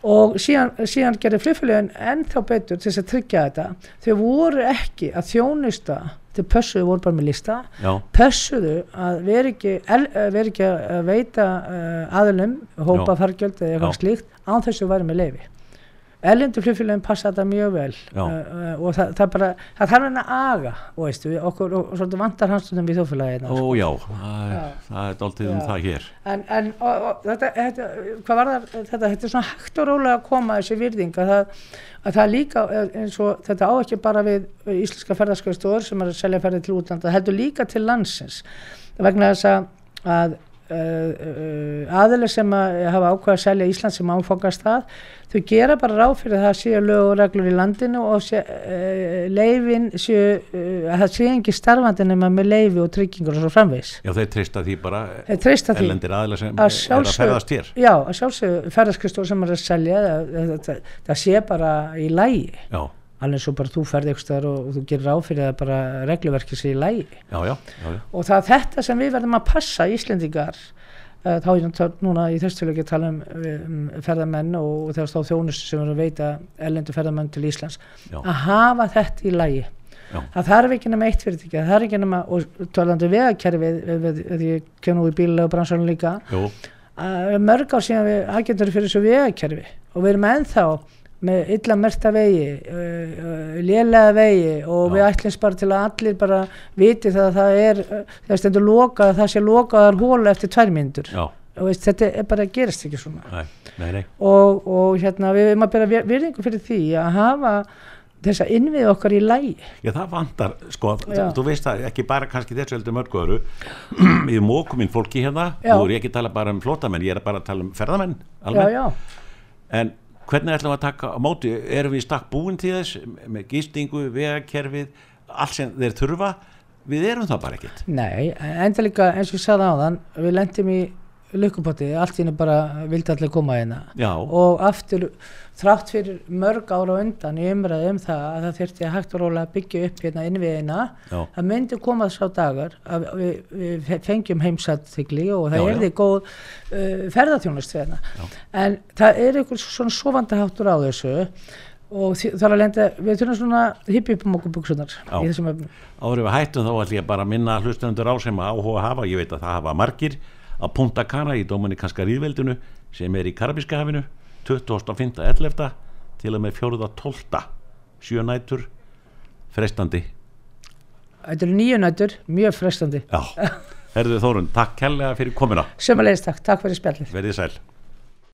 [SPEAKER 2] og síðan, síðan gerði flugfélagin ennþá betur til þess að tryggja þetta þau voru ekki að þjónusta þau pössuðu voru bara með lista
[SPEAKER 1] já,
[SPEAKER 2] pössuðu að vera ekki, el, eh, vera ekki að veita uh, aðlum hópa
[SPEAKER 1] Já.
[SPEAKER 2] fargjöld eða
[SPEAKER 1] Já.
[SPEAKER 2] eitthvað slíkt án þess að vera með leifi erlendu flugfélagin passa þetta mjög vel
[SPEAKER 1] Já.
[SPEAKER 2] uh, og það, það bara, það þarf henni að aga og veistu, við okkur, og svolítið vantar hansstundum í þjóðfélagi hérna,
[SPEAKER 1] Ó já, það er-
[SPEAKER 2] Já.
[SPEAKER 1] það er dálítið um
[SPEAKER 2] Já.
[SPEAKER 1] það hér.
[SPEAKER 2] en, en og, og, þetta, þetta, hvað var það þetta, þetta er svona hægt og rólega að koma þessi virðing að það, að það líka eh, eins og þetta á ekki bara við eh, íslenska ferðarskjöfstóður sem er að selja ferði til útlanda heldur líka til landsins vegna þess að, að Uh, aðileg sem að hafa ákveð að selja Ísland sem áfangast það þau gera bara ráð fyrir að það séu lög og reglur í landinu og sé, uh, leifin séu, uh, að það sé engi starfandi nema með leifi og tryggingur og svo framvegis
[SPEAKER 1] Já, þeir treysta því bara,
[SPEAKER 2] þeir treysta því
[SPEAKER 1] ellendir aðila sem er
[SPEAKER 2] Að
[SPEAKER 1] að
[SPEAKER 2] sjálfsögðu.
[SPEAKER 1] ferðast hér.
[SPEAKER 2] Já, að sjálfsögðu ferðarskristóð sem er að selja það, það, það, það sé bara í lægi
[SPEAKER 1] Já,
[SPEAKER 2] alveg svo bara þú ferði ykkur staðar og, og þú gerir ráð fyrir að bara regluverkið sé í lægi
[SPEAKER 1] já, já, já, já.
[SPEAKER 2] og það er þetta sem við verðum að passa Íslendingar uh, þá er ég nú tal- núna í þessu tilöki að tala um, um ferðamenn og, og þegar þá þjónustu sem eru að veita erlendu ferðamenn til Íslands
[SPEAKER 1] Já.
[SPEAKER 2] að hafa þetta í lægi
[SPEAKER 1] Já.
[SPEAKER 2] það þarf ekki nema eitt fyrirtæki það þarf ekki nema, og talandi um vegakerfið þegar ég kem nú í bílulega bransanum líka
[SPEAKER 1] Jú,
[SPEAKER 2] að mörg ár síðan við agentur fyrir þessu vegakerfi og við erum ennþá með illa merta vegi uh, uh, lélega vegi
[SPEAKER 1] Já.
[SPEAKER 2] og við ætlum bara til að allir bara viti það að það er uh, það stendur lokað, að það sé lokaðar hóla eftir tvær myndur
[SPEAKER 1] já,
[SPEAKER 2] og veist, þetta er bara gerist ekki svona
[SPEAKER 1] nei, nei, nei.
[SPEAKER 2] og, og hérna við erum að bera vir- virðingu fyrir því að hafa þessa innvið okkar í lægi
[SPEAKER 1] Já, það vantar, sko,
[SPEAKER 2] Já.
[SPEAKER 1] þú veist það, ekki bara kannski þessu heldur mörgu öru, ég móku mín fólki hérna,
[SPEAKER 2] Já.
[SPEAKER 1] nú er ég ekki að tala bara um flótamenn, ég er bara að tala um ferðamenn,
[SPEAKER 2] já,
[SPEAKER 1] almennt,
[SPEAKER 2] já,
[SPEAKER 1] en hvernig ætlum við að taka á móti, erum við í stakk búin til þess, með gistingu, vegakerfið, allt sem þeir þurfa, við erum það bara ekkert.
[SPEAKER 2] nei enda líka eins og ég sagði áðan við lendum í lukkupotti allt í henni bara vildi allir koma hérna
[SPEAKER 1] Já,
[SPEAKER 2] og aftur þrátt fyrir mörg ára undan í umræði um það að það þyrfti að hægt og róla að byggja upp hérna innviðina
[SPEAKER 1] já,
[SPEAKER 2] það myndi koma sá dagar að við, við fengjum heimsattigli og
[SPEAKER 1] Já,
[SPEAKER 2] það
[SPEAKER 1] já.
[SPEAKER 2] erði góð uh, ferðarþjónust hérna en það er einhver svona sofandaháttur á þessu og þi- þar að lenda við þurfum svona hippi upp um okkur buksunar
[SPEAKER 1] Já.
[SPEAKER 2] í þessum efnum
[SPEAKER 1] áður við hættum þá ætlum ég bara að minna hlustendur á sem að áhuga hafa, ég veit að það hafa margir, að Punta Cana í Dominikanska ríðveldinu sem er í Karabíska hafinu 25.11. til og með 4.12. sjönætur frestandi
[SPEAKER 2] þetta eru nýju nætur, mjög frestandi
[SPEAKER 1] Já, herðu Þórun, takk kærlega fyrir komina
[SPEAKER 2] sömulegist takk, takk fyrir spjallið
[SPEAKER 1] verið sæl